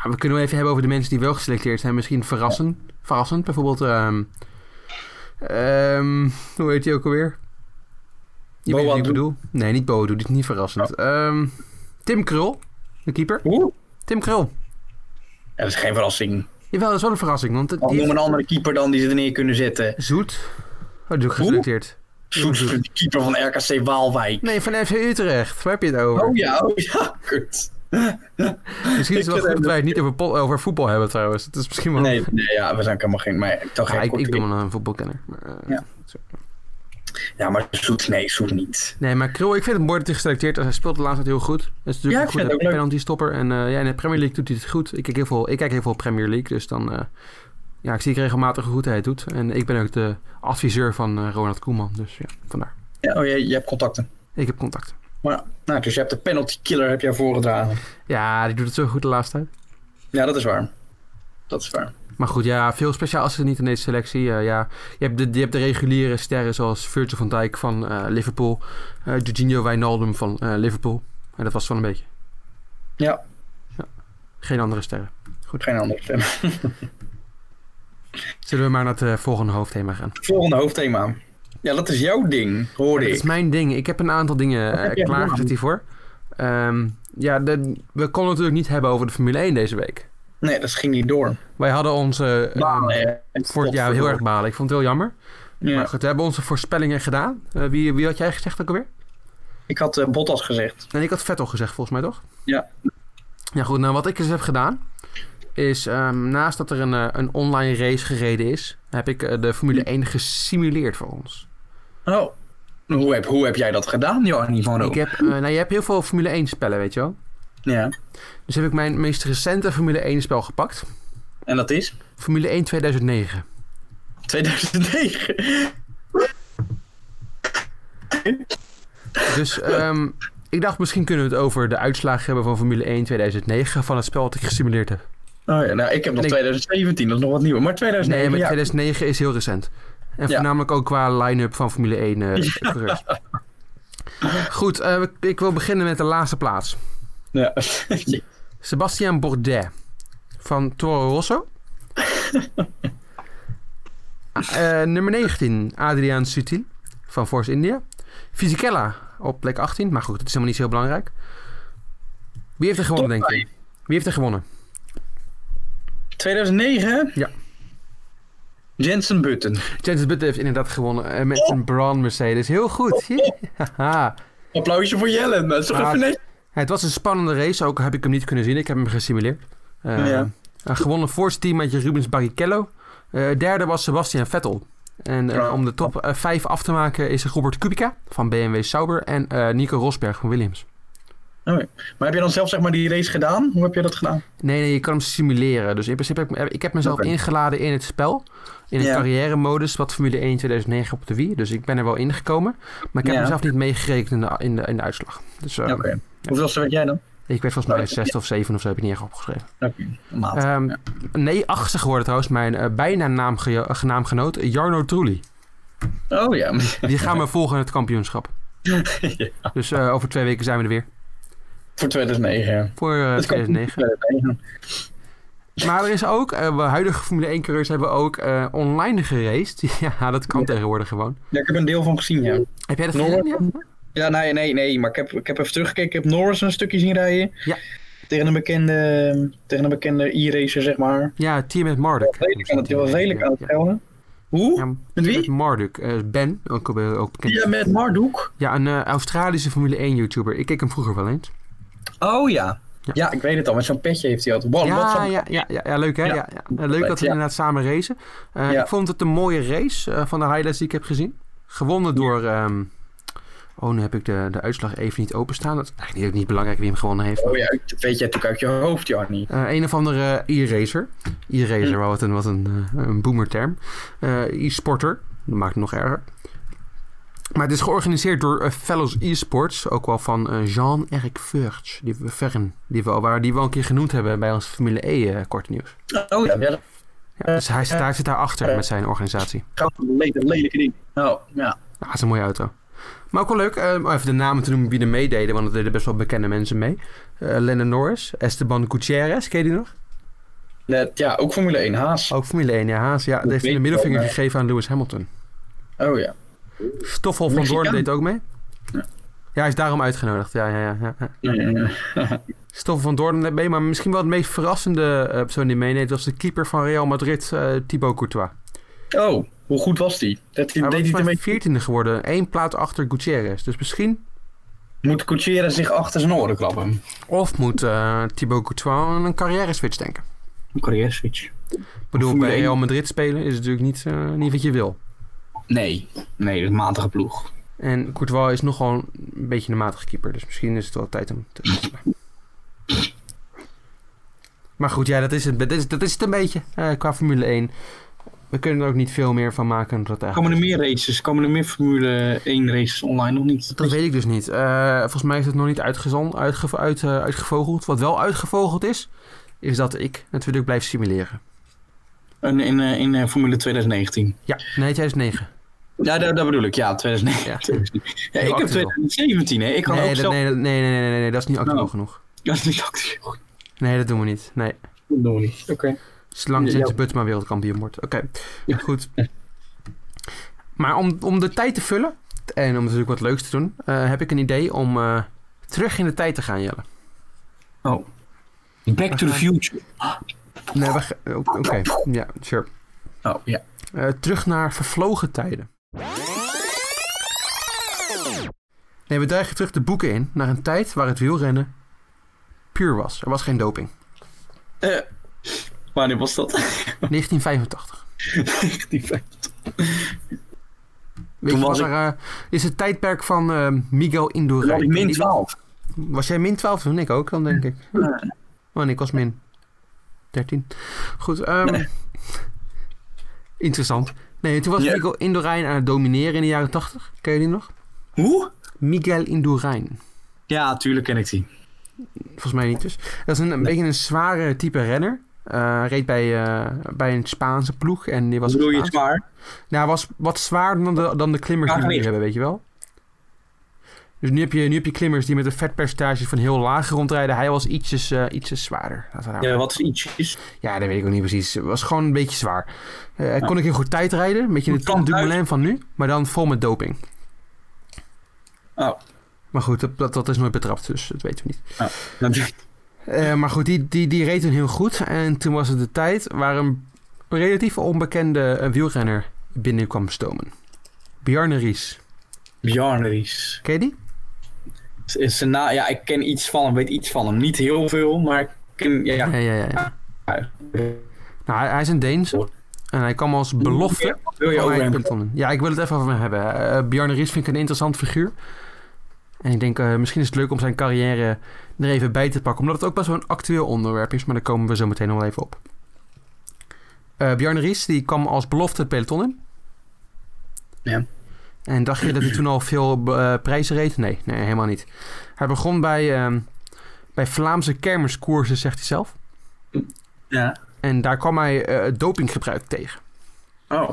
S1: we kunnen wel even hebben over de mensen die wel geselecteerd zijn. Misschien verrassend. Verrassend. Bijvoorbeeld, ehm, ehm, hoe heet hij ook alweer? Je weet wie ik
S2: Boadu. Oh.
S1: bedoel? Nee, niet Boadu. Dit is niet verrassend. Ehm, Tim Krul, de keeper.
S2: Hoe?
S1: Tim Krul.
S2: Ja, dat is geen verrassing.
S1: Jawel, dat is wel een verrassing. Want het-
S2: Al
S1: die
S2: Oh, noem een andere keeper dan die ze er neer kunnen zetten.
S1: Zoet. Oh, die is ook geselecteerd.
S2: Soets,
S1: Mhm.
S2: de keeper van RKC Waalwijk.
S1: Nee, van FC Utrecht. Waar heb je het over?
S2: Oh ja, oh ja, kut.
S1: Misschien is het
S2: Ik
S1: wel goed
S2: vind
S1: dat wij het niet over, pol- over voetbal hebben trouwens. Dat is misschien wel...
S2: Nee, nee ja, we zijn ook helemaal geen... Maar ik toch
S1: Ja,
S2: geen
S1: ik, ik
S2: korte-
S1: ben wel een voetbalkenner. maar, eh,
S2: Ja. Ja, maar Soet, nee, Soet niet.
S1: Nee, maar Krul, ik vind het mooi dat hij geselecteerd is. Hij speelt de laatste tijd heel goed. Dat is
S2: Ja,
S1: natuurlijk
S2: ik vind
S1: een
S2: het ook
S1: goede
S2: leuk.
S1: penalty-stopper. En eh, ja, in de Premier League doet hij het goed. Ik kijk heel veel, ik kijk heel veel Premier League, dus dan... eh, ja, ik zie regelmatig hoe goed hij het doet. En ik ben ook de adviseur van eh, Ronald Koeman, dus ja, vandaar.
S2: Ja, oh, je, je hebt contacten.
S1: Ik heb contact.
S2: Maar, nou, dus je hebt de penalty killer heb jij voorgedragen.
S1: Ja, die doet het zo goed de laatste tijd.
S2: Ja, dat is waar. Dat is waar.
S1: Maar goed, ja, veel speciaal is er niet in deze selectie. Eh, ja, je, hebt de, je hebt de reguliere sterren zoals Virgil van Dijk van eh, Liverpool. eh Jorginho Wijnaldum van eh, Liverpool. En dat was wel een beetje.
S2: Ja.
S1: Ja. Geen andere sterren.
S2: Geen andere stem.
S1: Zullen we maar naar het eh, volgende hoofdthema gaan?
S2: Volgende hoofdthema. Ja, dat is jouw ding, hoorde
S1: Dat
S2: ik.
S1: is mijn ding. Ik heb een aantal dingen
S2: Wat heb
S1: eh,
S2: jij
S1: klaargezet
S2: gedaan?
S1: hiervoor. Ehm, ja, de- we konden het natuurlijk niet hebben over de Formule 1 deze week.
S2: Nee, dat ging niet door.
S1: Wij hadden onze... eh,
S2: nee,
S1: voor het jaar heel erg balen. Ik vond het heel jammer. Maar
S2: Ja.
S1: goed, we hebben onze voorspellingen gedaan. Eh, wie, wie had jij gezegd ook alweer?
S2: Ik had eh, Bottas gezegd.
S1: En ik had Vettel gezegd, volgens mij toch?
S2: Ja.
S1: Ja, goed. Nou, wat ik dus heb gedaan, is ehm, naast dat er een, eh, een online race gereden is, heb ik eh, de Formule 1 gesimuleerd voor ons.
S2: Oh. Hoe heb, hoe heb jij dat gedaan, Johan van
S1: Ik heb, eh, nou, je hebt heel veel Formule 1 spellen, weet je wel.
S2: Ja.
S1: Dus heb ik mijn meest recente Formule 1 spel gepakt.
S2: En dat is?
S1: Formule 1 2009.
S2: 2009.
S1: Dus ehm, ik dacht, misschien kunnen we het over de uitslagen hebben van Formule 1 2009 van het spel dat ik gesimuleerd heb.
S2: Oh ja, nou, ik heb nog
S1: Nee.
S2: 2017, dat is nog wat nieuwer. Maar
S1: Nee,
S2: 2009,
S1: maar
S2: ja.
S1: 2009 is heel recent. En
S2: Ja.
S1: voornamelijk ook qua line-up van Formule 1 eh coureurs. Goed, eh, ik- ik wil beginnen met de laatste plaats.
S2: Ja.
S1: Sebastian Bourdais van Toro Rosso. Eh, nummer 19, Adriaan Sutil van Force India. Fisichella op plek 18, maar goed, dat is helemaal niet zo heel belangrijk. Wie heeft er gewonnen,
S2: Top
S1: denk je? Wie heeft er gewonnen?
S2: 2009?
S1: Ja.
S2: Jensen Button.
S1: Jensen Button heeft inderdaad gewonnen eh, met
S2: Oh!
S1: zijn Brown Mercedes. Heel goed. Haha.
S2: Applausje voor Jellen. Dat is toch
S1: Ah,
S2: even net?
S1: Ja, het was een spannende race, ook heb ik hem niet kunnen zien. Ik heb hem gesimuleerd. Eh,
S2: Ja.
S1: Een gewonnen force team met Rubens Barrichello. Eh, derde was Sebastian Vettel. En eh,
S2: Ja.
S1: om de top 5 af te maken is er Robert Kubica van BMW Sauber en eh, Nico Rosberg van Williams.
S2: Oké. Maar heb je dan zelf zeg maar die race gedaan? Hoe heb je dat gedaan?
S1: Nee, nee, je kan hem simuleren. Dus in principe heb ik, ik heb mezelf
S2: Oké.
S1: ingeladen in het spel. In het
S2: Ja.
S1: carrière-modus, wat Formule 1 2009 op de Wii. Dus ik ben er wel ingekomen. Maar ik heb
S2: Ja.
S1: mezelf niet meegerekend in de, in de, in de uitslag. Dus eh,
S2: Oké. Nou, Hoeveelste werd jij dan?
S1: ik werd volgens mij 6 of 7 of zo heb ik niet echt opgeschreven.
S2: Oké. Maat.
S1: Ehm,
S2: ja.
S1: Nee, achtste geworden trouwens. Mijn eh, bijna naamge- eh, naamgenoot Jarno Trulli.
S2: Oh ja.
S1: Die gaan we volgen in het kampioenschap.
S2: Ja.
S1: Dus eh, over twee weken zijn we er weer.
S2: Voor 2009. ja.
S1: Voor eh,
S2: Dat kan-
S1: 2009.
S2: 2009.
S1: Maar er is ook, eh, we huidige Formule 1 coureurs hebben ook eh, online geraced. ja, dat kan
S2: Ja.
S1: tegenwoordig gewoon.
S2: Ja, ik heb een deel van gezien, ja.
S1: Heb jij dat
S2: Norris-
S1: gedaan? Ja?
S2: Ja, nee, nee, nee. Maar ik heb, ik heb even teruggekeken. Ik heb Norris een stukje zien rijden.
S1: Ja.
S2: Tegen een bekende, tegen een bekende e-racer, zeg maar.
S1: Ja, Team met Marduk.
S2: Redelijk aan het, die was redelijk aan het
S1: Ja,
S2: tellen. Hoe?
S1: Ja,
S2: Met
S1: Met
S2: wie?
S1: Marduk. eh, ben, ook, eh, ook bekend.
S2: Ja, met Marduk.
S1: Ja, een eh, Australische Formule 1 YouTuber. Ik keek hem vroeger wel eens.
S2: Oh ja.
S1: Ja.
S2: ja. ik weet het al. Met zo'n petje heeft hij altijd. Wow, Oh, wat
S1: Ja,
S2: zo'n-
S1: ja, ja, ja, ja, leuk hè? Ja.
S2: Ja.
S1: ja. Eh, Leuk dat we
S2: Ja.
S1: inderdaad samen racen. Eh,
S2: Ja.
S1: Ik vond het een mooie race eh, van de highlights die ik heb gezien. Gewonnen door... ehm, oh, nu heb ik de, de uitslag even niet openstaan. Dat is eigenlijk niet, niet belangrijk wie hem gewonnen heeft.
S2: Oh ja, dat weet jij natuurlijk uit je hoofd, Jarnie.
S1: Eh, een of andere e-racer. E-racer,
S2: Hm.
S1: wat een, wat een, eh, een boomerterm. Eh, e-sporter, dat maakt het nog erger. Maar het is georganiseerd door eh, Fellows E-sports, ook wel van eh, Jean-Eric Verge, die we, Verren, die we, al waren, die we al een keer genoemd hebben bij ons Formule E eh, korte nieuws.
S2: Oh ja, ja dat
S1: Ja, dus hij, zit- hij zit daarachter met zijn organisatie.
S2: gaat een le- een lelijke ding. Oh, ja.
S1: Ah, het is een mooie auto. Maar ook wel leuk eh, om even de namen te noemen wie er meededen, want er deden best wel bekende mensen mee. Eh Lennon Norris, Esteban Gutierrez, ken je die nog?
S2: Net, ja, ook Formule 1 Haas.
S1: Ook Formule 1, ja, Haas. Ja,
S2: Dat
S1: die heeft
S2: weet
S1: de
S2: ik
S1: middelvinger
S2: wel, maar-
S1: gegeven aan Lewis Hamilton.
S2: Oh ja.
S1: Stoffel van
S2: Mexicaan.
S1: Doorn deed ook mee. Ja.
S2: Ja.
S1: hij is daarom uitgenodigd. Ja, ja, ja, ja, ja.
S2: Eh,
S1: Stoffel van Doorn deed mee, maar misschien wel het meest verrassende eh, persoon die meeneemt was de keeper van Real Madrid, eh, Thibaut Courtois.
S2: Oh, hoe goed was die? Dat
S1: Hij
S2: die deed
S1: was
S2: hij het
S1: maar
S2: een beetje...
S1: 14e geworden, één plaats achter Gutierrez. Dus misschien,
S2: Moet Coutiera zich achter zijn oren krabben?
S1: of moet eh Thibaut Courtois aan een carrière switch denken.
S2: Een carrière switch.
S1: Ik bedoel,
S2: Formule
S1: bij
S2: 1.
S1: Real Madrid spelen is natuurlijk niet, eh, niet wat je wil.
S2: Nee, nee, dat is een matige ploeg.
S1: En Courtois is nog gewoon een beetje een matige keeper. Dus misschien is het wel tijd om te wisselen. Maar goed, ja, dat is het, dat is, dat is het een beetje eh, qua Formule 1. We kunnen er ook niet veel meer van maken. Dat, eigenlijk...
S2: Komen er meer races? Komen er meer Formule 1 races online nog niet?
S1: dat weet ik dus niet. Eh, volgens mij is het nog niet uitgezon, uitge, uit, eh, uitgevogeld. Wat wel uitgevogeld is, is dat ik natuurlijk blijf simuleren.
S2: In, in, eh, in eh, Formule 2019.
S1: Ja, nee, 2009.
S2: Ja, dat, dat bedoel ik. Ja, 2019.
S1: Ja.
S2: 2019. Ja,
S1: Heel
S2: ik heb
S1: actueel.
S2: 2017, hè. Ik kan
S1: Nee,
S2: ook
S1: dat-
S2: zelf...
S1: nee, dat- nee, nee, nee, nee, nee, dat is niet actueel
S2: Nou.
S1: genoeg.
S2: Ja, dat is actueel.
S1: Nee, dat doen we niet. Nee.
S2: Dat doen we niet. Oké.
S1: Zolang
S2: Ja,
S1: James
S2: ja.
S1: Butt maar wereldkampioen wordt. Oké, goed. Maar om, om de tijd te vullen en om natuurlijk wat leuks te doen, eh, heb ik een idee om eh, terug in de tijd te gaan, Jelle.
S2: Back to the future.
S1: Nee, we ga- o- Oké, ja, sure.
S2: Oh, ja.
S1: Eh, terug naar vervlogen tijden. Nee, we duiken terug de boeken in naar een tijd waar het wielrennen puur was. Er was geen doping.
S2: Eh, wanneer was dat?
S1: 1985.
S2: Die vijf.
S1: Weet
S2: Toen
S1: je,
S2: was
S1: was er, eh, is het tijdperk van eh, Miguel
S2: Toen had
S1: Indurain.
S2: ik min 12.
S1: Was jij min 12 toen? Ik ook dan, denk ik.
S2: Ja.
S1: Oh, en ik was min 13. Goed, ehm, interessant. Nee, toen was
S2: Ja.
S1: Miguel Indurain aan het domineren in de jaren 80. Ken je die nog?
S2: Hoe?
S1: Miguel Indurain.
S2: Ja, tuurlijk ken ik die.
S1: Volgens mij niet dus. Dat is een, een beetje een zware type renner. Eh, reed bij, eh, bij een Spaanse ploeg en die was...
S2: Wat bedoel je
S1: Spaans.
S2: zwaar?
S1: Nou, hij was wat zwaarder dan de, dan de klimmers die we nu
S2: Laaggewicht.
S1: hebben, weet je wel? Dus nu heb je, nu heb je klimmers die met een vetpercentage van heel laag rondrijden. Hij was ietsjes, eh, ietsjes zwaarder. Laten we daar
S2: Ja, wat is ietsjes?
S1: Ja, dat weet ik ook niet precies. Het was gewoon een beetje zwaar. Eh, hij kon ik heel goed tijd rijden. Een beetje in de
S2: Hoe
S1: Tom
S2: kan
S1: Dumoulin van nu. Maar dan vol met doping.
S2: Oh.
S1: Maar goed, dat- dat, dat is nooit betrapt. Dus dat weten we niet.
S2: Dat-
S1: Eh, maar goed, die, die, die reed toen heel goed. En toen was het de tijd waar een relatief onbekende eh, wielrenner binnen kwam stomen. Bjarne Ries.
S2: Bjarne Ries.
S1: Ken je die?
S2: Z- Zijn na, ja, ik ken iets van hem, weet iets van hem. Niet heel veel, maar ik ken... Ja, ja.
S1: Ja, ja, ja. ja. Nou, hij, hij is een Deense. En hij kwam als belofte
S2: Wil je
S1: Oh,
S2: over
S1: nee,
S2: hem?
S1: Pimpton. Ja, ik wil het even over hem hebben. Eh Bjarne Ries vind ik een interessant figuur. En ik denk, eh, misschien is het leuk om zijn carrière er even bij te pakken. Omdat het ook best wel een actueel onderwerp is. Maar daar komen we zo meteen nog wel even op. Eh Bjarne Ries, die kwam als belofte het peloton in.
S2: Ja.
S1: En dacht je dat hij toen al veel eh, prijzen reed? Nee, nee, helemaal niet. Hij begon bij, ehm, bij Vlaamse kermiskoersen, zegt hij zelf.
S2: Ja.
S1: En daar kwam hij eh, dopinggebruik tegen.
S2: Oh,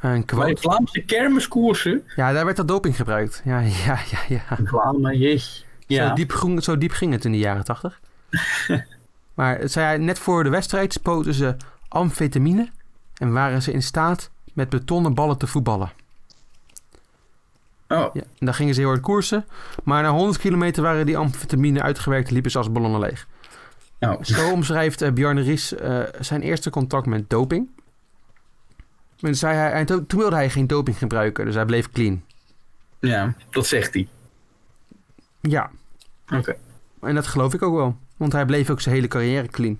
S1: Een
S2: bij
S1: quote.
S2: Vlaamse kermiskoersen.
S1: Ja, daar werd dat doping gebruikt. Ja, ja, ja, ja.
S2: Vlaanderen, jeetje.
S1: Zo,
S2: Ja.
S1: diep groen- zo diep ging het in de jaren tachtig. maar het zei hij, net voor de wedstrijd spoten ze amfetamine en waren ze in staat met betonnen ballen te voetballen.
S2: Oh,
S1: Ja, en dan gingen ze heel hard koersen, maar na 100 kilometer waren die amfetamine uitgewerkt en liepen ze als ballonnen leeg.
S2: nou.
S1: Zo omschrijft eh, Bjarne Ries eh, zijn eerste contact met doping. En zei hij, en to- toen wilde hij geen doping gebruiken, dus hij bleef clean.
S2: Ja, dat zegt hij.
S1: Ja,
S2: Oké.
S1: en dat geloof ik ook wel, want hij bleef ook zijn hele carrière clean.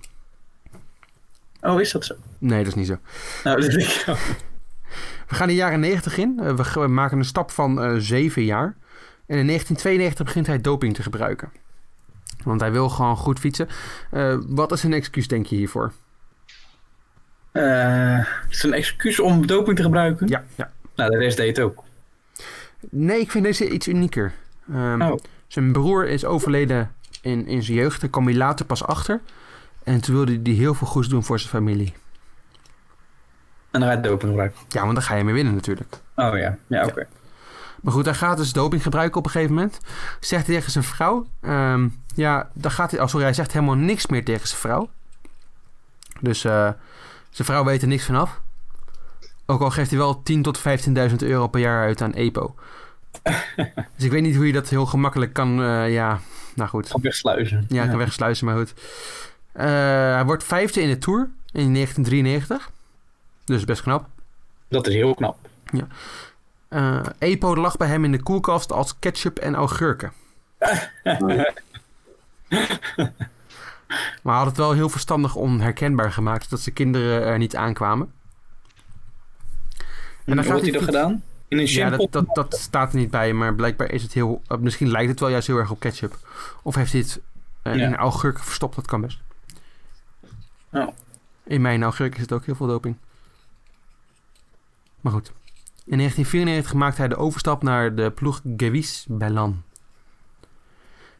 S2: Oh, is dat zo?
S1: Nee, dat is niet zo.
S2: Nou, dat denk ik ook.
S1: We gaan de jaren 90 in. Eh, we, g- we maken een stap van eh 7 jaar. En in 1992 begint hij doping te gebruiken. Want hij wil gewoon goed fietsen. Eh, wat is een excuus, denk je, hiervoor?
S2: Eh, is het een excuus om doping te gebruiken?
S1: Ja, ja.
S2: Nou, de rest deed het ook.
S1: Nee, ik vind deze iets unieker. Ehm,
S2: Oh.
S1: Zijn broer is overleden in, in zijn jeugd. Daar kwam hij later pas achter. En toen wilde hij heel veel goeds doen voor zijn familie.
S2: En dan ga je doping gebruiken.
S1: Ja, want daar ga je mee winnen natuurlijk.
S2: Oh ja, ja, oké.
S1: Maar goed, hij gaat dus doping gebruiken op een gegeven moment. Zegt hij tegen zijn vrouw. ehm, ja, dan gaat hij. Oh, sorry, hij zegt helemaal niks meer tegen zijn vrouw. Dus eh, zijn vrouw weet er niks vanaf. Ook al geeft hij wel 10.000 tot 15.000 euro per jaar uit aan EPO. dus ik weet niet hoe je dat heel gemakkelijk kan. eh, ja, nou goed.
S2: Kan wegsluizen.
S1: Ja, ik kan wegsluizen, maar goed. Eh, hij wordt vijfde in de Tour in 1993. Dus best knap.
S2: Dat is heel knap.
S1: Eh, Epo lag bij hem in de koelkast als ketchup en augurken. maar hij had het wel heel verstandig onherkenbaar gemaakt, zodat zijn kinderen er niet aankwamen. dan
S2: En dan
S1: gaat
S2: wordt hij
S1: hij
S2: dat gedaan? In een
S1: Ja,
S2: shampoo?
S1: dat, dat, dat staat er niet bij, maar blijkbaar is het heel. eh, misschien lijkt het wel juist heel erg op ketchup. Of heeft hij het eh,
S2: Ja.
S1: in augurken verstopt, dat kan best.
S2: Oh.
S1: In mijn augurken zit ook heel veel doping. Maar goed. In 1994 maakt hij de overstap naar de ploeg Gewiss Bellan.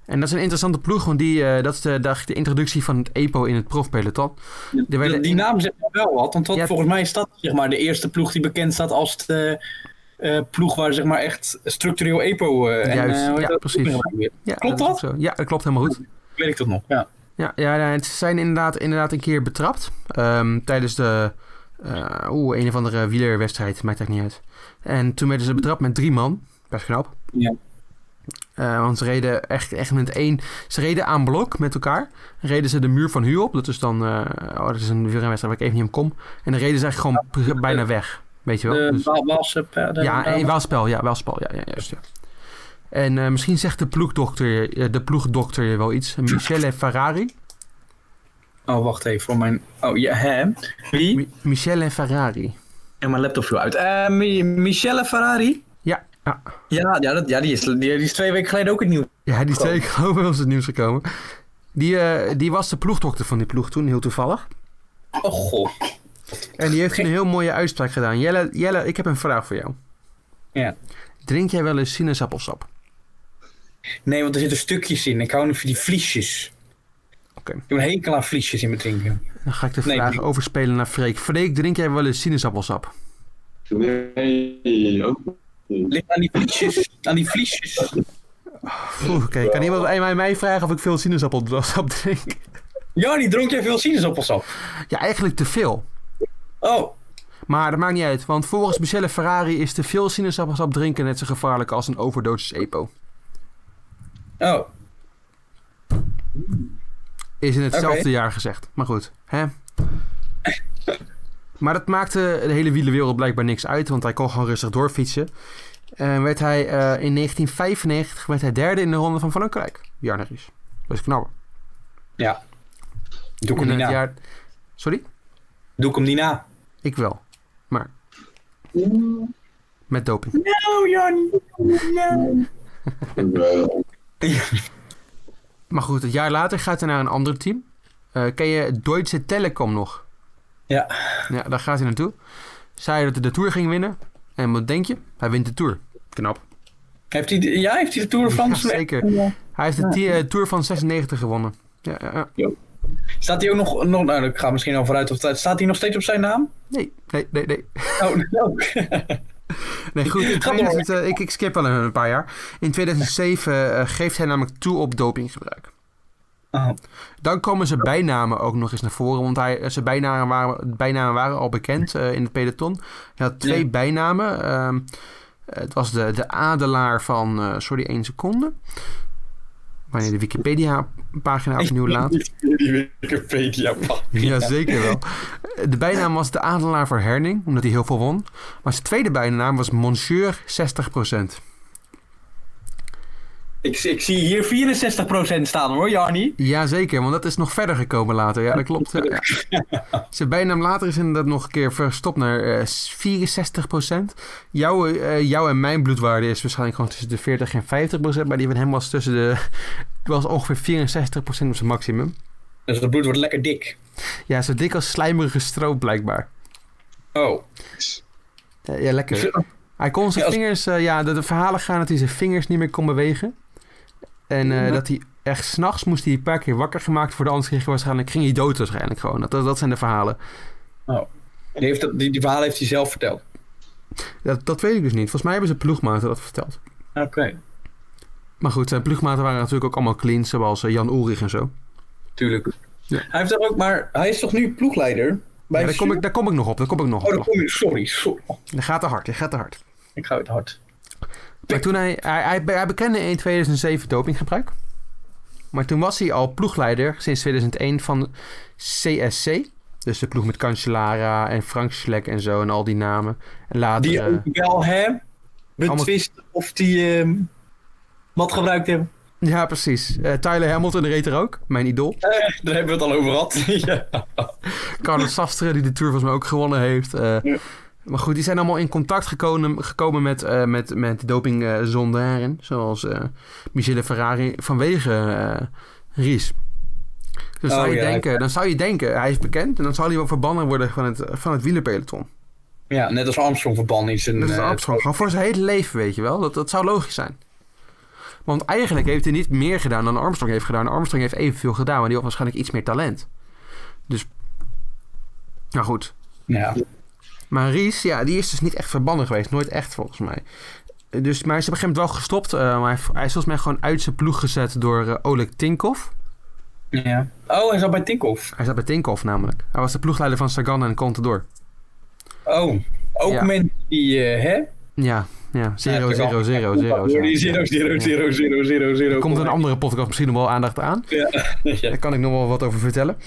S1: En dat is een interessante ploeg, want die, eh, dat is de, de, de introductie van het EPO in het profpeloton. Er
S2: Die-
S1: werden-
S2: Die naam zegt me wel wat, want dat,
S1: Ja.
S2: volgens mij is dat zeg maar, de eerste ploeg die bekend staat als de eh, ploeg waar zeg maar, echt structureel EPO eh, en,
S1: Juist,
S2: eh, hoe heet
S1: ja,
S2: dat?
S1: precies.
S2: doping weer.
S1: ja,
S2: klopt
S1: is ook zo. Ja, dat klopt helemaal goed.
S2: Weet ik dat nog? Ja.
S1: Ja, ja ja, het- ze zijn inderdaad, inderdaad een keer betrapt. Ehm, tijdens de. eh, Oeh, een of andere wielerwedstrijd. Maakt eigenlijk niet uit. En toen werden ze betrapt met drie man. Best knap.
S2: Ja.
S1: Eh, want ze reden echt, echt met één. Ze reden aan blok met elkaar. Reden ze de muur van Hu op. Dat is dan. eh, oh, dat is een wielrenwedstrijd waar ik even niet om kom. En dan reden ze eigenlijk gewoon pr- bijna weg. Weet je wel?
S2: De
S1: Dus-
S2: Eh, Wa- Waalse pe- de-
S1: ja,
S2: de-
S1: en Waalspel, ja, Waalspel, ja, ja, juist, ja. En eh, misschien zegt de ploegdokter, eh, de ploegdokter je wel iets. Michele Ferrari.
S2: Oh, wacht even voor mijn. Oh ja, hè? Wie?
S1: Mi- Michele Ferrari.
S2: En mijn laptop viel uit. Eh, Mi- Michelle Ferrari?
S1: Ja, ja.
S2: Ja, ja, dat, ja die, is, die, die is twee weken geleden ook het nieuws.
S1: ja die is
S2: Gewoon.
S1: twee keer over ons het nieuws gekomen. Die, eh, die was de ploegdokter van die ploeg toen, heel toevallig.
S2: Oh god.
S1: En die heeft een heel mooie uitspraak gedaan. Jelle, Jelle ik heb een vraag voor jou.
S2: Ja.
S1: Drink jij wel eens sinaasappelsap?
S2: Nee, want er zitten stukjes in. Ik hou niet van die vliesjes.
S1: Oké.
S2: Ik heb een hekel aan vliesjes in mijn drinken.
S1: Dan ga ik de
S2: Nee,
S1: vraag
S2: drink-
S1: overspelen naar Freek. Freek, drink jij wel eens sinaasappelsap?
S3: Nee, ook niet.
S2: Ligt aan die vliesjes. Aan die vliesjes.
S1: Oeh, Oké, kan iemand aan mij- mij vragen of ik veel sinaasappelsap drink?
S2: Ja, die dronk jij veel sinaasappelsap.
S1: Ja, eigenlijk te veel.
S2: Oh,
S1: Maar dat maakt niet uit, want volgens Michele Ferrari is te veel sinaasappelsap drinken net zo gevaarlijk als een overdosis EPO.
S2: oh.
S1: Is in hetzelfde
S2: Oké.
S1: jaar gezegd. Maar goed, hè? maar dat maakte de hele wielerwereld blijkbaar niks uit, want hij kon gewoon rustig doorfietsen. En werd hij eh, in 1995 werd hij derde in de Ronde van Frankrijk. Bjarne Ries. Best knap.
S2: Ja. Doe ik hem
S1: In
S2: niet
S1: het
S2: na.
S1: jaar... Sorry?
S2: Doe ik hem niet na.
S1: Ik wel. Maar met doping.
S2: Oh, Jan.
S3: Wel,
S1: Maar goed, een jaar later gaat hij naar een ander team. Eh, ken je Deutsche Telekom nog?
S2: Ja.
S1: Ja, daar gaat hij naartoe. Zei dat hij de Tour ging winnen. En wat denk je? Hij wint de Tour. Knap.
S2: Heeft hij, de- ja, heeft hij de Tour de France?
S1: Ja, zeker. Hij heeft de ti- eh, Tour van 96 gewonnen. Ja, ja, ja.
S2: Staat hij ook nog, nog nou, ik ga misschien al vooruit of tijd. Staat hij nog steeds op zijn naam?
S1: Nee, nee, nee, nee.
S2: Oh, no.
S1: Nee, goed. In
S2: Ga door.
S1: 2000, eh, ik, ik skip wel een paar jaar. In 2007 eh, geeft hij namelijk toe op dopinggebruik.
S2: Oh,
S1: Dan komen zijn bijnamen ook nog eens naar voren. Want hij, zijn bijnamen waren, bijnamen waren al bekend eh, in het peloton. Hij had twee
S2: Ja.
S1: bijnamen. ehm, het was de, de adelaar van... eh, sorry, één seconde. Wanneer de Wikipedia-pagina opnieuw laat.
S2: Die Wikipedia. man.
S1: Ja, zeker wel. De bijnaam was de adelaar voor Herning, omdat hij heel veel won. Maar zijn tweede bijnaam was Monsieur 60%.
S2: Ik, ik zie hier 64% staan hoor, Jarni.
S1: Jazeker, want dat is nog verder gekomen later. Ja, dat klopt. ja, ja. Zijn bijnaam later is inderdaad nog een keer verstopt naar eh, 64%. Jouw, eh, jouw en mijn bloedwaarde is waarschijnlijk gewoon tussen de 40 en 50%. Maar die van hem was tussen de... was ongeveer 64% op zijn maximum.
S2: Dus dat bloed wordt lekker dik.
S1: Ja, zo dik als slijmerige stroop blijkbaar.
S2: Oh.
S1: Ja, ja, lekker. Hij kon zijn
S2: Ja, als-
S1: vingers, eh, ja, de, de verhalen gaan dat hij zijn vingers niet meer kon bewegen. En eh,
S2: Ja.
S1: dat hij echt s'nachts moest hij een paar keer wakker gemaakt worden, anders ging hij waarschijnlijk, ging hij dood waarschijnlijk gewoon. Dat, dat, dat zijn de verhalen.
S2: Die, heeft, dat- die, die verhalen heeft hij zelf verteld.
S1: Dat, dat weet ik dus niet. Volgens mij hebben ze ploegmaten dat verteld.
S2: Oké.
S1: Maar goed, zijn ploegmaten waren natuurlijk ook allemaal clean, zoals eh, Jan Ulrich en zo.
S2: Tuurlijk.
S1: Ja.
S2: Hij heeft daar ook, maar hij is toch nu ploegleider? Bij
S1: Ja, daar, kom ik, daar kom ik nog op, daar kom ik nog
S2: Oh, daar
S1: op.
S2: kom je. Sorry, sorry. Oh,
S1: Dat gaat te hard, dat gaat te hard.
S2: Ik ga uit het hard.
S1: Maar toen hij, hij, hij, hij bekende in 2007 dopinggebruik. Maar toen was hij al ploegleider sinds 2001 van CSC. Dus de ploeg met Cancellara en Frank Schleck en zo en al die namen. En later...
S2: Die
S1: eh,
S2: ook wel hem
S1: allemaal-
S2: betwist of die ehm, wat gebruikt hebben.
S1: ja, precies. Eh, Tyler Hamilton reed er ook. Mijn idool.
S2: Daar hebben we het al over gehad. ja.
S1: Carlos Sastre, die de Tour volgens mij ook gewonnen heeft. eh.
S2: Ja.
S1: Maar goed, die zijn allemaal in contact gekomen, gekomen met, eh met, met dopingzondaren. Zoals eh Michele Ferrari vanwege eh Ries. Dus
S2: Oh,
S1: zou je
S2: ja,
S1: denken, dan zou je denken, hij is bekend. En dan zal hij wel verbannen worden van het, van het wielerpeloton.
S2: ja, net als Armstrong verbannen is. eh,
S1: Dat is Armstrong. Gewoon voor zijn hele leven, weet je wel. Dat, dat zou logisch zijn. Want eigenlijk heeft hij niet meer gedaan dan Armstrong heeft gedaan. Armstrong heeft evenveel gedaan, maar die had waarschijnlijk iets meer talent. Dus, nou goed.
S2: Ja.
S1: Maar Ries, ja, die is dus niet echt verbannen geweest. Nooit echt, volgens mij. Eh, Dus, maar hij is op een gegeven moment wel gestopt. eh, maar hij, hij is volgens mij gewoon uit zijn ploeg gezet door eh, Oleg Tinkov.
S2: ja. Oh, hij zat bij Tinkoff.
S1: Hij zat bij Tinkov namelijk. Hij was de ploegleider van Sagan en Contador.
S2: Oh, ook
S1: Ja.
S2: mensen die, eh, hè?
S1: Ja, ja.
S2: Ja,
S1: Zero,
S2: Sagan.
S1: zero, zero, zero.
S2: Door die
S1: zero.
S2: zero, zero, zero, zero, zero, zero.
S1: Er komt een andere podcast misschien nog wel aandacht aan.
S2: Ja.
S1: Daar kan ik nog wel wat over vertellen.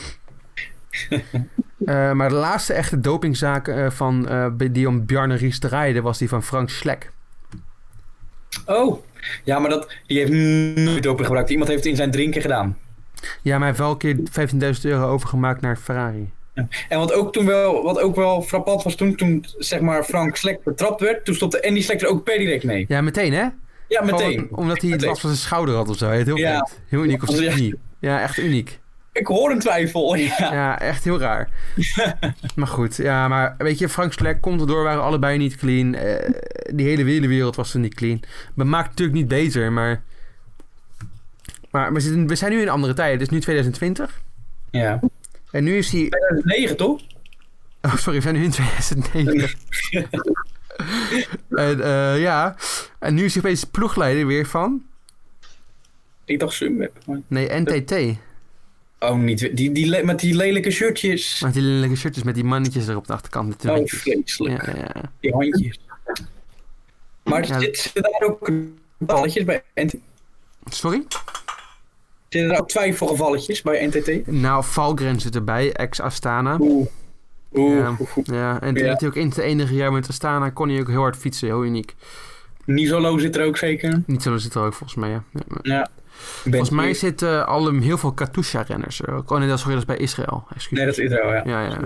S1: Eh, maar de laatste echte dopingzaak eh, van, eh, die om Bjarne Ries draaide was die van Frank Schleck.
S2: Oh, ja, maar dat, die heeft nooit doping gebruikt. Iemand heeft het in zijn drinken gedaan.
S1: Ja, maar hij heeft wel een keer 15.000 euro overgemaakt naar Ferrari.
S2: En wat ook, toen wel, wat ook wel frappant was toen, toen zeg maar Frank Slek betrapt werd, toen stopte Andy Slek er ook per direct mee.
S1: Ja, meteen hè?
S2: Ja,
S1: Gewoon
S2: meteen.
S1: omdat hij het
S2: Meteen.
S1: last van zijn schouder had of zo. Heel,
S2: Ja.
S1: vreemd. heel uniek of zijn
S2: Ja.
S1: knie. Ja, echt uniek.
S2: Ik hoor een twijfel. Ja.
S1: Ja, echt heel raar. maar goed, ja, maar weet je, Frank Slek komt erdoor, waren allebei niet clean. Eh, die hele wielerwereld was er niet clean. Maar maakt het natuurlijk niet beter, maar... Maar we, zitten, we zijn nu in andere tijden, dus nu 2020.
S2: ja.
S1: En nu is hij...
S2: 2009 Eh, toch?
S1: Oh, sorry, we zijn nu in 2090. en, eh, ja, en nu is hij opeens ploegleider weer van...
S2: Ik dacht Sunweb. maar-
S1: Nee, NTT.
S2: Oh, niet weer- die, die, le- met die lelijke shirtjes.
S1: Met die lelijke shirtjes met die mannetjes er op de achterkant. Met de
S2: Oh,
S1: handjes.
S2: vreselijk.
S1: Ja, ja, ja.
S2: Die handjes. Maar
S1: Ja.
S2: zit, zitten daar ook balletjes bij NTT?
S1: Sorry?
S2: Zitten daar ook twijfelgevalletjes bij NTT?
S1: Nou, Valgren zit erbij, ex-Astana.
S2: Oeh. Oeh.
S1: Ja.
S2: oeh, oeh.
S1: Ja, en toen
S2: Ja.
S1: had hij ook in het enige jaar met Astana kon hij ook heel hard fietsen. Heel uniek.
S2: Nisolo zit er ook zeker.
S1: Niet zo zit er ook volgens mij, ja. Ja, ja.
S2: Ja.
S1: Volgens mij zitten alle, heel veel Katusha-renners er ook. Oh nee, dat is, sorry, dat is bij Israël. Excuus.
S2: Nee, dat is Israël, ja.
S1: Ja, ja.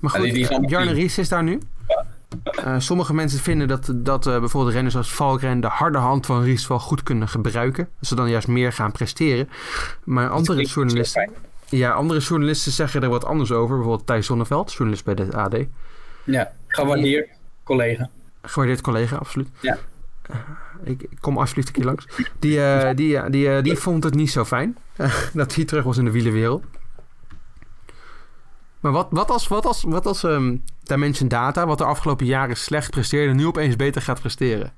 S1: Maar
S2: Ja, die- die
S1: goed,
S2: gaan-
S1: Jarne Ries is daar nu. Eh, sommige mensen vinden dat, dat eh, bijvoorbeeld renners als Valkren de harde hand van Ries wel goed kunnen gebruiken. Dat ze dan juist meer gaan presteren. Maar andere
S2: klinkt
S1: journalisten,
S2: zeer fijn.
S1: ja, andere journalisten zeggen er wat anders over. Bijvoorbeeld Thijs Zonneveld, journalist bij de AD.
S2: Ja, gewaardeerd collega.
S1: Gewaardeerd collega, absoluut.
S2: Ja.
S1: Eh, ik, ik kom alsjeblieft een keer langs. Die, eh, die, eh, die, eh, die vond het niet zo fijn eh, dat hij terug was in de wielenwereld. Maar wat, wat als, wat als, wat als ehm, Dimension Data, wat de afgelopen jaren slecht presteerde, nu opeens beter gaat presteren?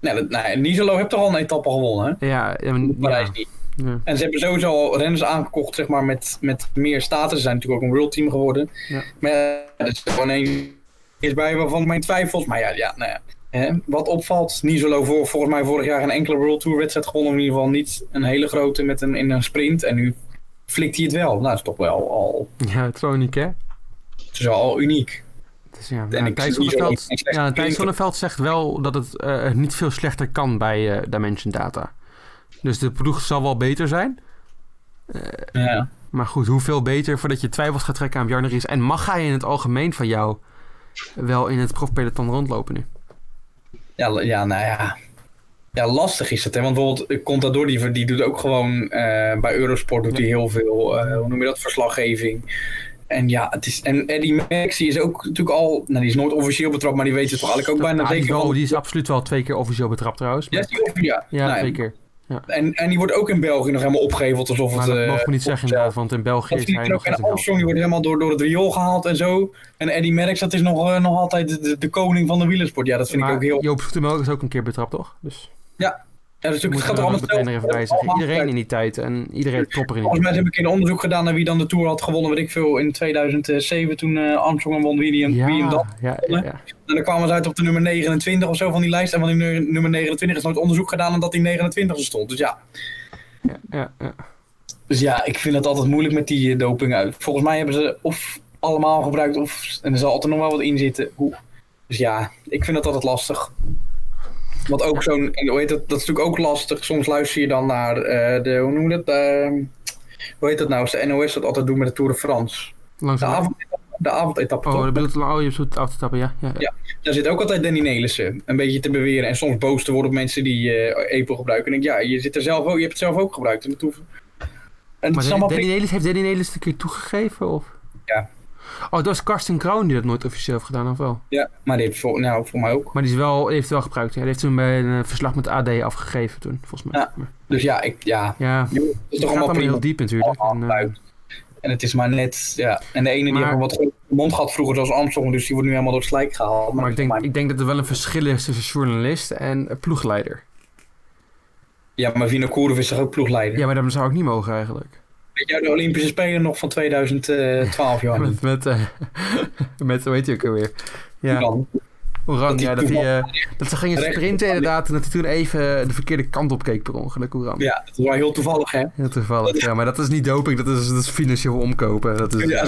S2: Nou, dat, nou Nizolo heeft toch al een etappe gewonnen, hè?
S1: Ja, ja, maar-
S2: Parijs
S1: ja,
S2: niet.
S1: ja.
S2: En ze hebben sowieso al renners aangekocht, zeg maar, met, met meer status. Ze zijn natuurlijk ook een world team geworden.
S1: Ja.
S2: Maar eh, er is gewoon één is bij waarvan ik mijn twijfels. Maar ja, ja, nou ja. Hè, wat opvalt, Nizolo voor volgens mij vorig jaar een enkele World Tour wedstrijd gewonnen. In ieder geval niet een hele grote met een, in een sprint. En nu flikt hij het wel. Nou, dat is toch wel al,
S1: ja het is wel uniek, hè?
S2: het is wel al uniek.
S1: Het is, ja,
S2: En
S1: ja,
S2: ik
S1: Thijs
S2: zie hier
S1: Zonneveld,
S2: ook een slechte
S1: ja, Thijs
S2: klinker.
S1: Zonneveld zegt wel dat het eh, niet veel slechter kan bij eh, Dimension Data. Dus de ploeg zal wel beter zijn.
S2: Ja.
S1: Maar goed, hoeveel beter voordat je twijfels gaat trekken aan Bjarne Ries? En mag hij in het algemeen van jou wel in het profpeloton rondlopen nu?
S2: Ja, l- ja, nou ja. Ja, lastig is het, hè? Want bijvoorbeeld eh, Contador, die, die doet ook gewoon... eh, bij Eurosport doet hij heel veel, eh, hoe noem je dat, verslaggeving. En ja, het is... En Eddie Max, die is ook natuurlijk al... Nou, die is nooit officieel betrapt, maar die weet het toch eigenlijk Dus ook
S1: Nou,
S2: bijna
S1: die, is
S2: zeker
S1: wel-
S2: van...
S1: die is absoluut wel twee keer officieel betrapt trouwens.
S2: Ja,
S1: Maar-
S2: is die of- ja.
S1: ja,
S2: Nou, en-
S1: twee keer.
S2: en, en die wordt ook in België nog helemaal opgeheveld, alsof
S1: Maar
S2: het...
S1: dat
S2: eh,
S1: mogen we niet zeggen
S2: of-
S1: inderdaad, want in België
S2: Of
S1: is
S2: die
S1: hij
S2: ook
S1: nog
S2: en
S1: eens een held.
S2: Armstrong, die wordt helemaal door, door het riool gehaald en zo. En Eddie Merckx, dat is nog, eh, nog altijd de, de koning van de wielersport. Ja, dat vind
S1: Maar
S2: ik ook heel...
S1: Joop Zoetemelk is ook een keer betrapt, toch? Dus
S2: Ja, dat is
S1: moet
S2: natuurlijk, het gaat
S1: er
S2: toch allemaal
S1: de trainer even bij zeggen.
S2: allemaal-
S1: Iedereen in die tijd en iedereen topper in die
S2: Volgens
S1: tijd.
S2: mij heb ik een onderzoek gedaan naar wie dan de Tour had gewonnen, weet ik veel, in 2007 toen eh, Armstrong en won, wie, hem- wie hem dan.
S1: Ja, ja, ja, ja.
S2: En dan kwamen ze uit op de nummer 29 of zo van die lijst. En van die nu- nummer 29 is nooit onderzoek gedaan omdat die 29 stond. Dus ja.
S1: ja, ja, ja.
S2: dus ja, ik vind het altijd moeilijk met die eh, doping uit. Volgens mij hebben ze of allemaal gebruikt of... En er zal altijd nog wel wat in zitten. Hoe? Dus ja, ik vind dat altijd lastig. Want ook zo'n... en Hoe heet dat? Dat is natuurlijk ook lastig. Soms luister je dan naar eh, de... Hoe noem je dat? Ehm, hoe heet dat nou? Is de NOS dat altijd doen met de Tour de France?
S1: Langs
S2: De, avond, de avondetappe,
S1: Oh,
S2: Nou,
S1: dat
S2: toch?
S1: bedoelt oh, je bedoelt af te tappen, ja. ja, ja.
S2: Daar zit ook altijd Danny Nelissen. Een beetje te beweren en soms boos te worden op mensen die eh Apple gebruiken. En ik denk, ja, je, zit er zelf ook, je hebt het zelf ook gebruikt. En dat hoeft... En het
S1: Maar
S2: is
S1: Danny
S2: allemaal prima.
S1: Nelis, heeft Danny Nelis een keer toegegeven? Of?
S2: Ja.
S1: Oh, dat was Karsten Kroon die dat nooit officieel heeft gedaan, of wel?
S2: Ja, maar die heeft voor, nou, voor mij ook.
S1: Maar die is wel, die heeft het wel gebruikt. Ja. Die heeft toen bij een eh, verslag met AD afgegeven toen, volgens mij.
S2: Ja.
S1: Maar-
S2: Dus ja, ik, ja.
S1: ja.
S2: Joh, Het is
S1: Het
S2: toch
S1: gaat
S2: allemaal
S1: allemaal
S2: prima.
S1: heel diep natuurlijk. En, eh,
S2: gebruikt. En het is maar net, ja. En de ene die
S1: Maar-
S2: heeft een wat groter mond gehad vroeger zoals Armstrong. Dus die wordt nu helemaal door het slijk gehaald.
S1: maar ik denk,
S2: maar-
S1: ik denk dat er wel een verschil is tussen journalist en eh, ploegleider.
S2: Ja, maar Vinokourov is toch ook ploegleider?
S1: Ja, maar dat zou ook niet mogen eigenlijk.
S2: Weet jij de Olympische Spelen nog van 2012, Johan?
S1: Met, met, eh, met hoe heet hij ook alweer? Ja.
S2: Dan.
S1: Oran,
S2: Dat die
S1: ja, dat,
S2: toen
S1: hij, eh, dat ze gingen
S2: recht-
S1: sprinten inderdaad en dat hij toen even de verkeerde kant op keek per ongeluk, Oran.
S2: Ja, dat is wel heel toevallig, hè?
S1: Heel toevallig, ja, maar dat is niet doping, dat is, dat is financieel omkopen. Dat is,
S2: Ja,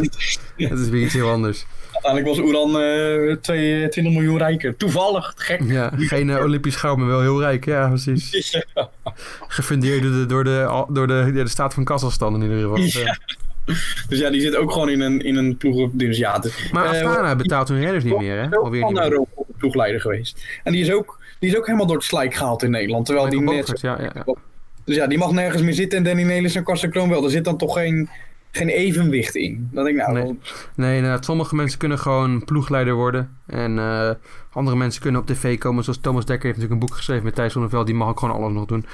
S1: dat is weer iets heel anders.
S2: Uiteindelijk was Oeran eh, twee- eh, 20 miljoen rijker. Toevallig, gek.
S1: Ja, geen eh, Olympisch goud, maar wel heel rijk, ja, precies. Gefundeerd door de, door de, door de, ja, de staat van Kazachstan in ieder geval.
S2: Ja. Dus ja, die zit ook gewoon in een, in een ploeg. Dus ja, het
S1: Eh,
S2: is
S1: Maar
S2: Eh,
S1: Astana betaalt hun renners niet meer, hè?
S2: ook
S1: Alweer niet
S2: van
S1: meer.
S2: Europa ploegleider geweest. En die is, ook, die is ook helemaal door het slijk gehaald in Nederland. Terwijl die
S1: Michael
S2: net,
S1: Bogert, ja, ja. ja.
S2: dus ja, die mag nergens meer zitten. En Danny Nelis en Karsten Kroon wel. Er zit dan toch geen, geen evenwicht in. Dan denk ik, nou,
S1: Nee.
S2: dan-
S1: Nee, inderdaad, sommige mensen kunnen gewoon ploegleider worden. En eh, andere mensen kunnen op tv komen. Zoals Thomas Dekker heeft natuurlijk een boek geschreven met Thijs Zonneveld. Die mag ook gewoon alles nog doen.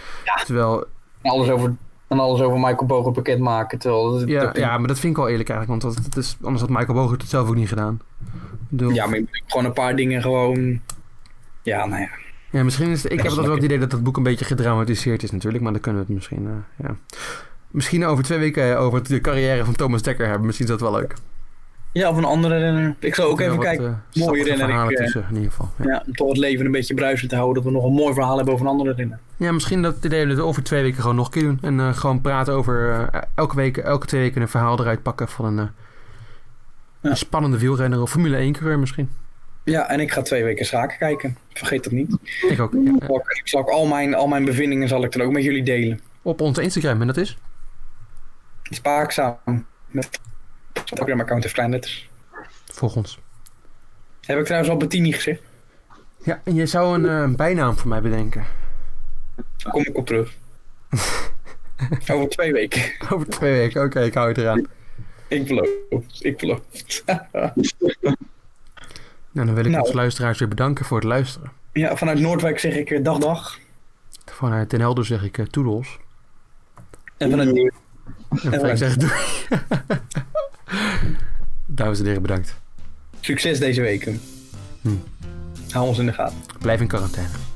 S1: Terwijl,
S2: alles over, en alles over Michael Bogen pakket maken. Terwijl dat,
S1: ja,
S2: dat-
S1: ja, maar dat vind ik wel eerlijk eigenlijk. Want dat, dat is, anders had Michael Bogert het zelf ook niet gedaan. Ik bedoel-
S2: ja, maar je moet gewoon een paar dingen gewoon... Ja, nou ja.
S1: Ja, misschien is het, ik heb altijd wel het idee dat dat boek een beetje gedramatiseerd is natuurlijk, maar dan kunnen we het misschien, eh, ja. Misschien over twee weken eh, over de carrière van Thomas Dekker hebben. Misschien is dat wel leuk.
S2: Ja, of een andere renner. Ik zal ook
S1: Er
S2: even
S1: wel wat,
S2: kijken.
S1: eh,
S2: Mooie
S1: sappige
S2: renner,
S1: verhalen
S2: ik, eh,
S1: tussen, in ieder geval. Ja.
S2: Ja, om toch het leven een beetje bruisend te houden. Dat we nog een mooi verhaal hebben over een andere renner.
S1: Ja, misschien dat het idee dat we over twee weken gewoon nog een keer doen. En eh, gewoon praten over eh, elke week, elke twee weken een verhaal eruit pakken van een, eh,
S2: Ja.
S1: een spannende wielrenner of Formule 1 coureur misschien.
S2: Ja, en ik ga twee weken schaken kijken. Vergeet dat niet.
S1: Ik ook. ja, ja.
S2: Zal Ik zal ook al mijn, al mijn bevindingen zal ik dan ook met jullie delen.
S1: Op onze Instagram, en dat is?
S2: Spaakzaam. Met het Instagram-account heeft klein letters.
S1: Volg ons.
S2: Heb ik trouwens al Bettini gezegd.
S1: Ja, en je zou een eh, bijnaam voor mij bedenken.
S2: Daar kom ik op terug. Over twee weken.
S1: Over twee weken, oké, ik hou het eraan.
S2: Ik beloof. Ik beloof.
S1: Nou, dan wil ik
S2: Nou.
S1: onze luisteraars weer bedanken voor het luisteren.
S2: ja, vanuit Noordwijk zeg ik eh, dag dag.
S1: Vanuit Den Helder zeg ik eh, toedels.
S2: En vanuit Nieuw.
S1: En Frank
S2: leuk.
S1: zegt doei. Dames en heren, bedankt.
S2: Succes deze weken.
S1: Hm.
S2: Hou ons in de gaten.
S1: Blijf in quarantaine.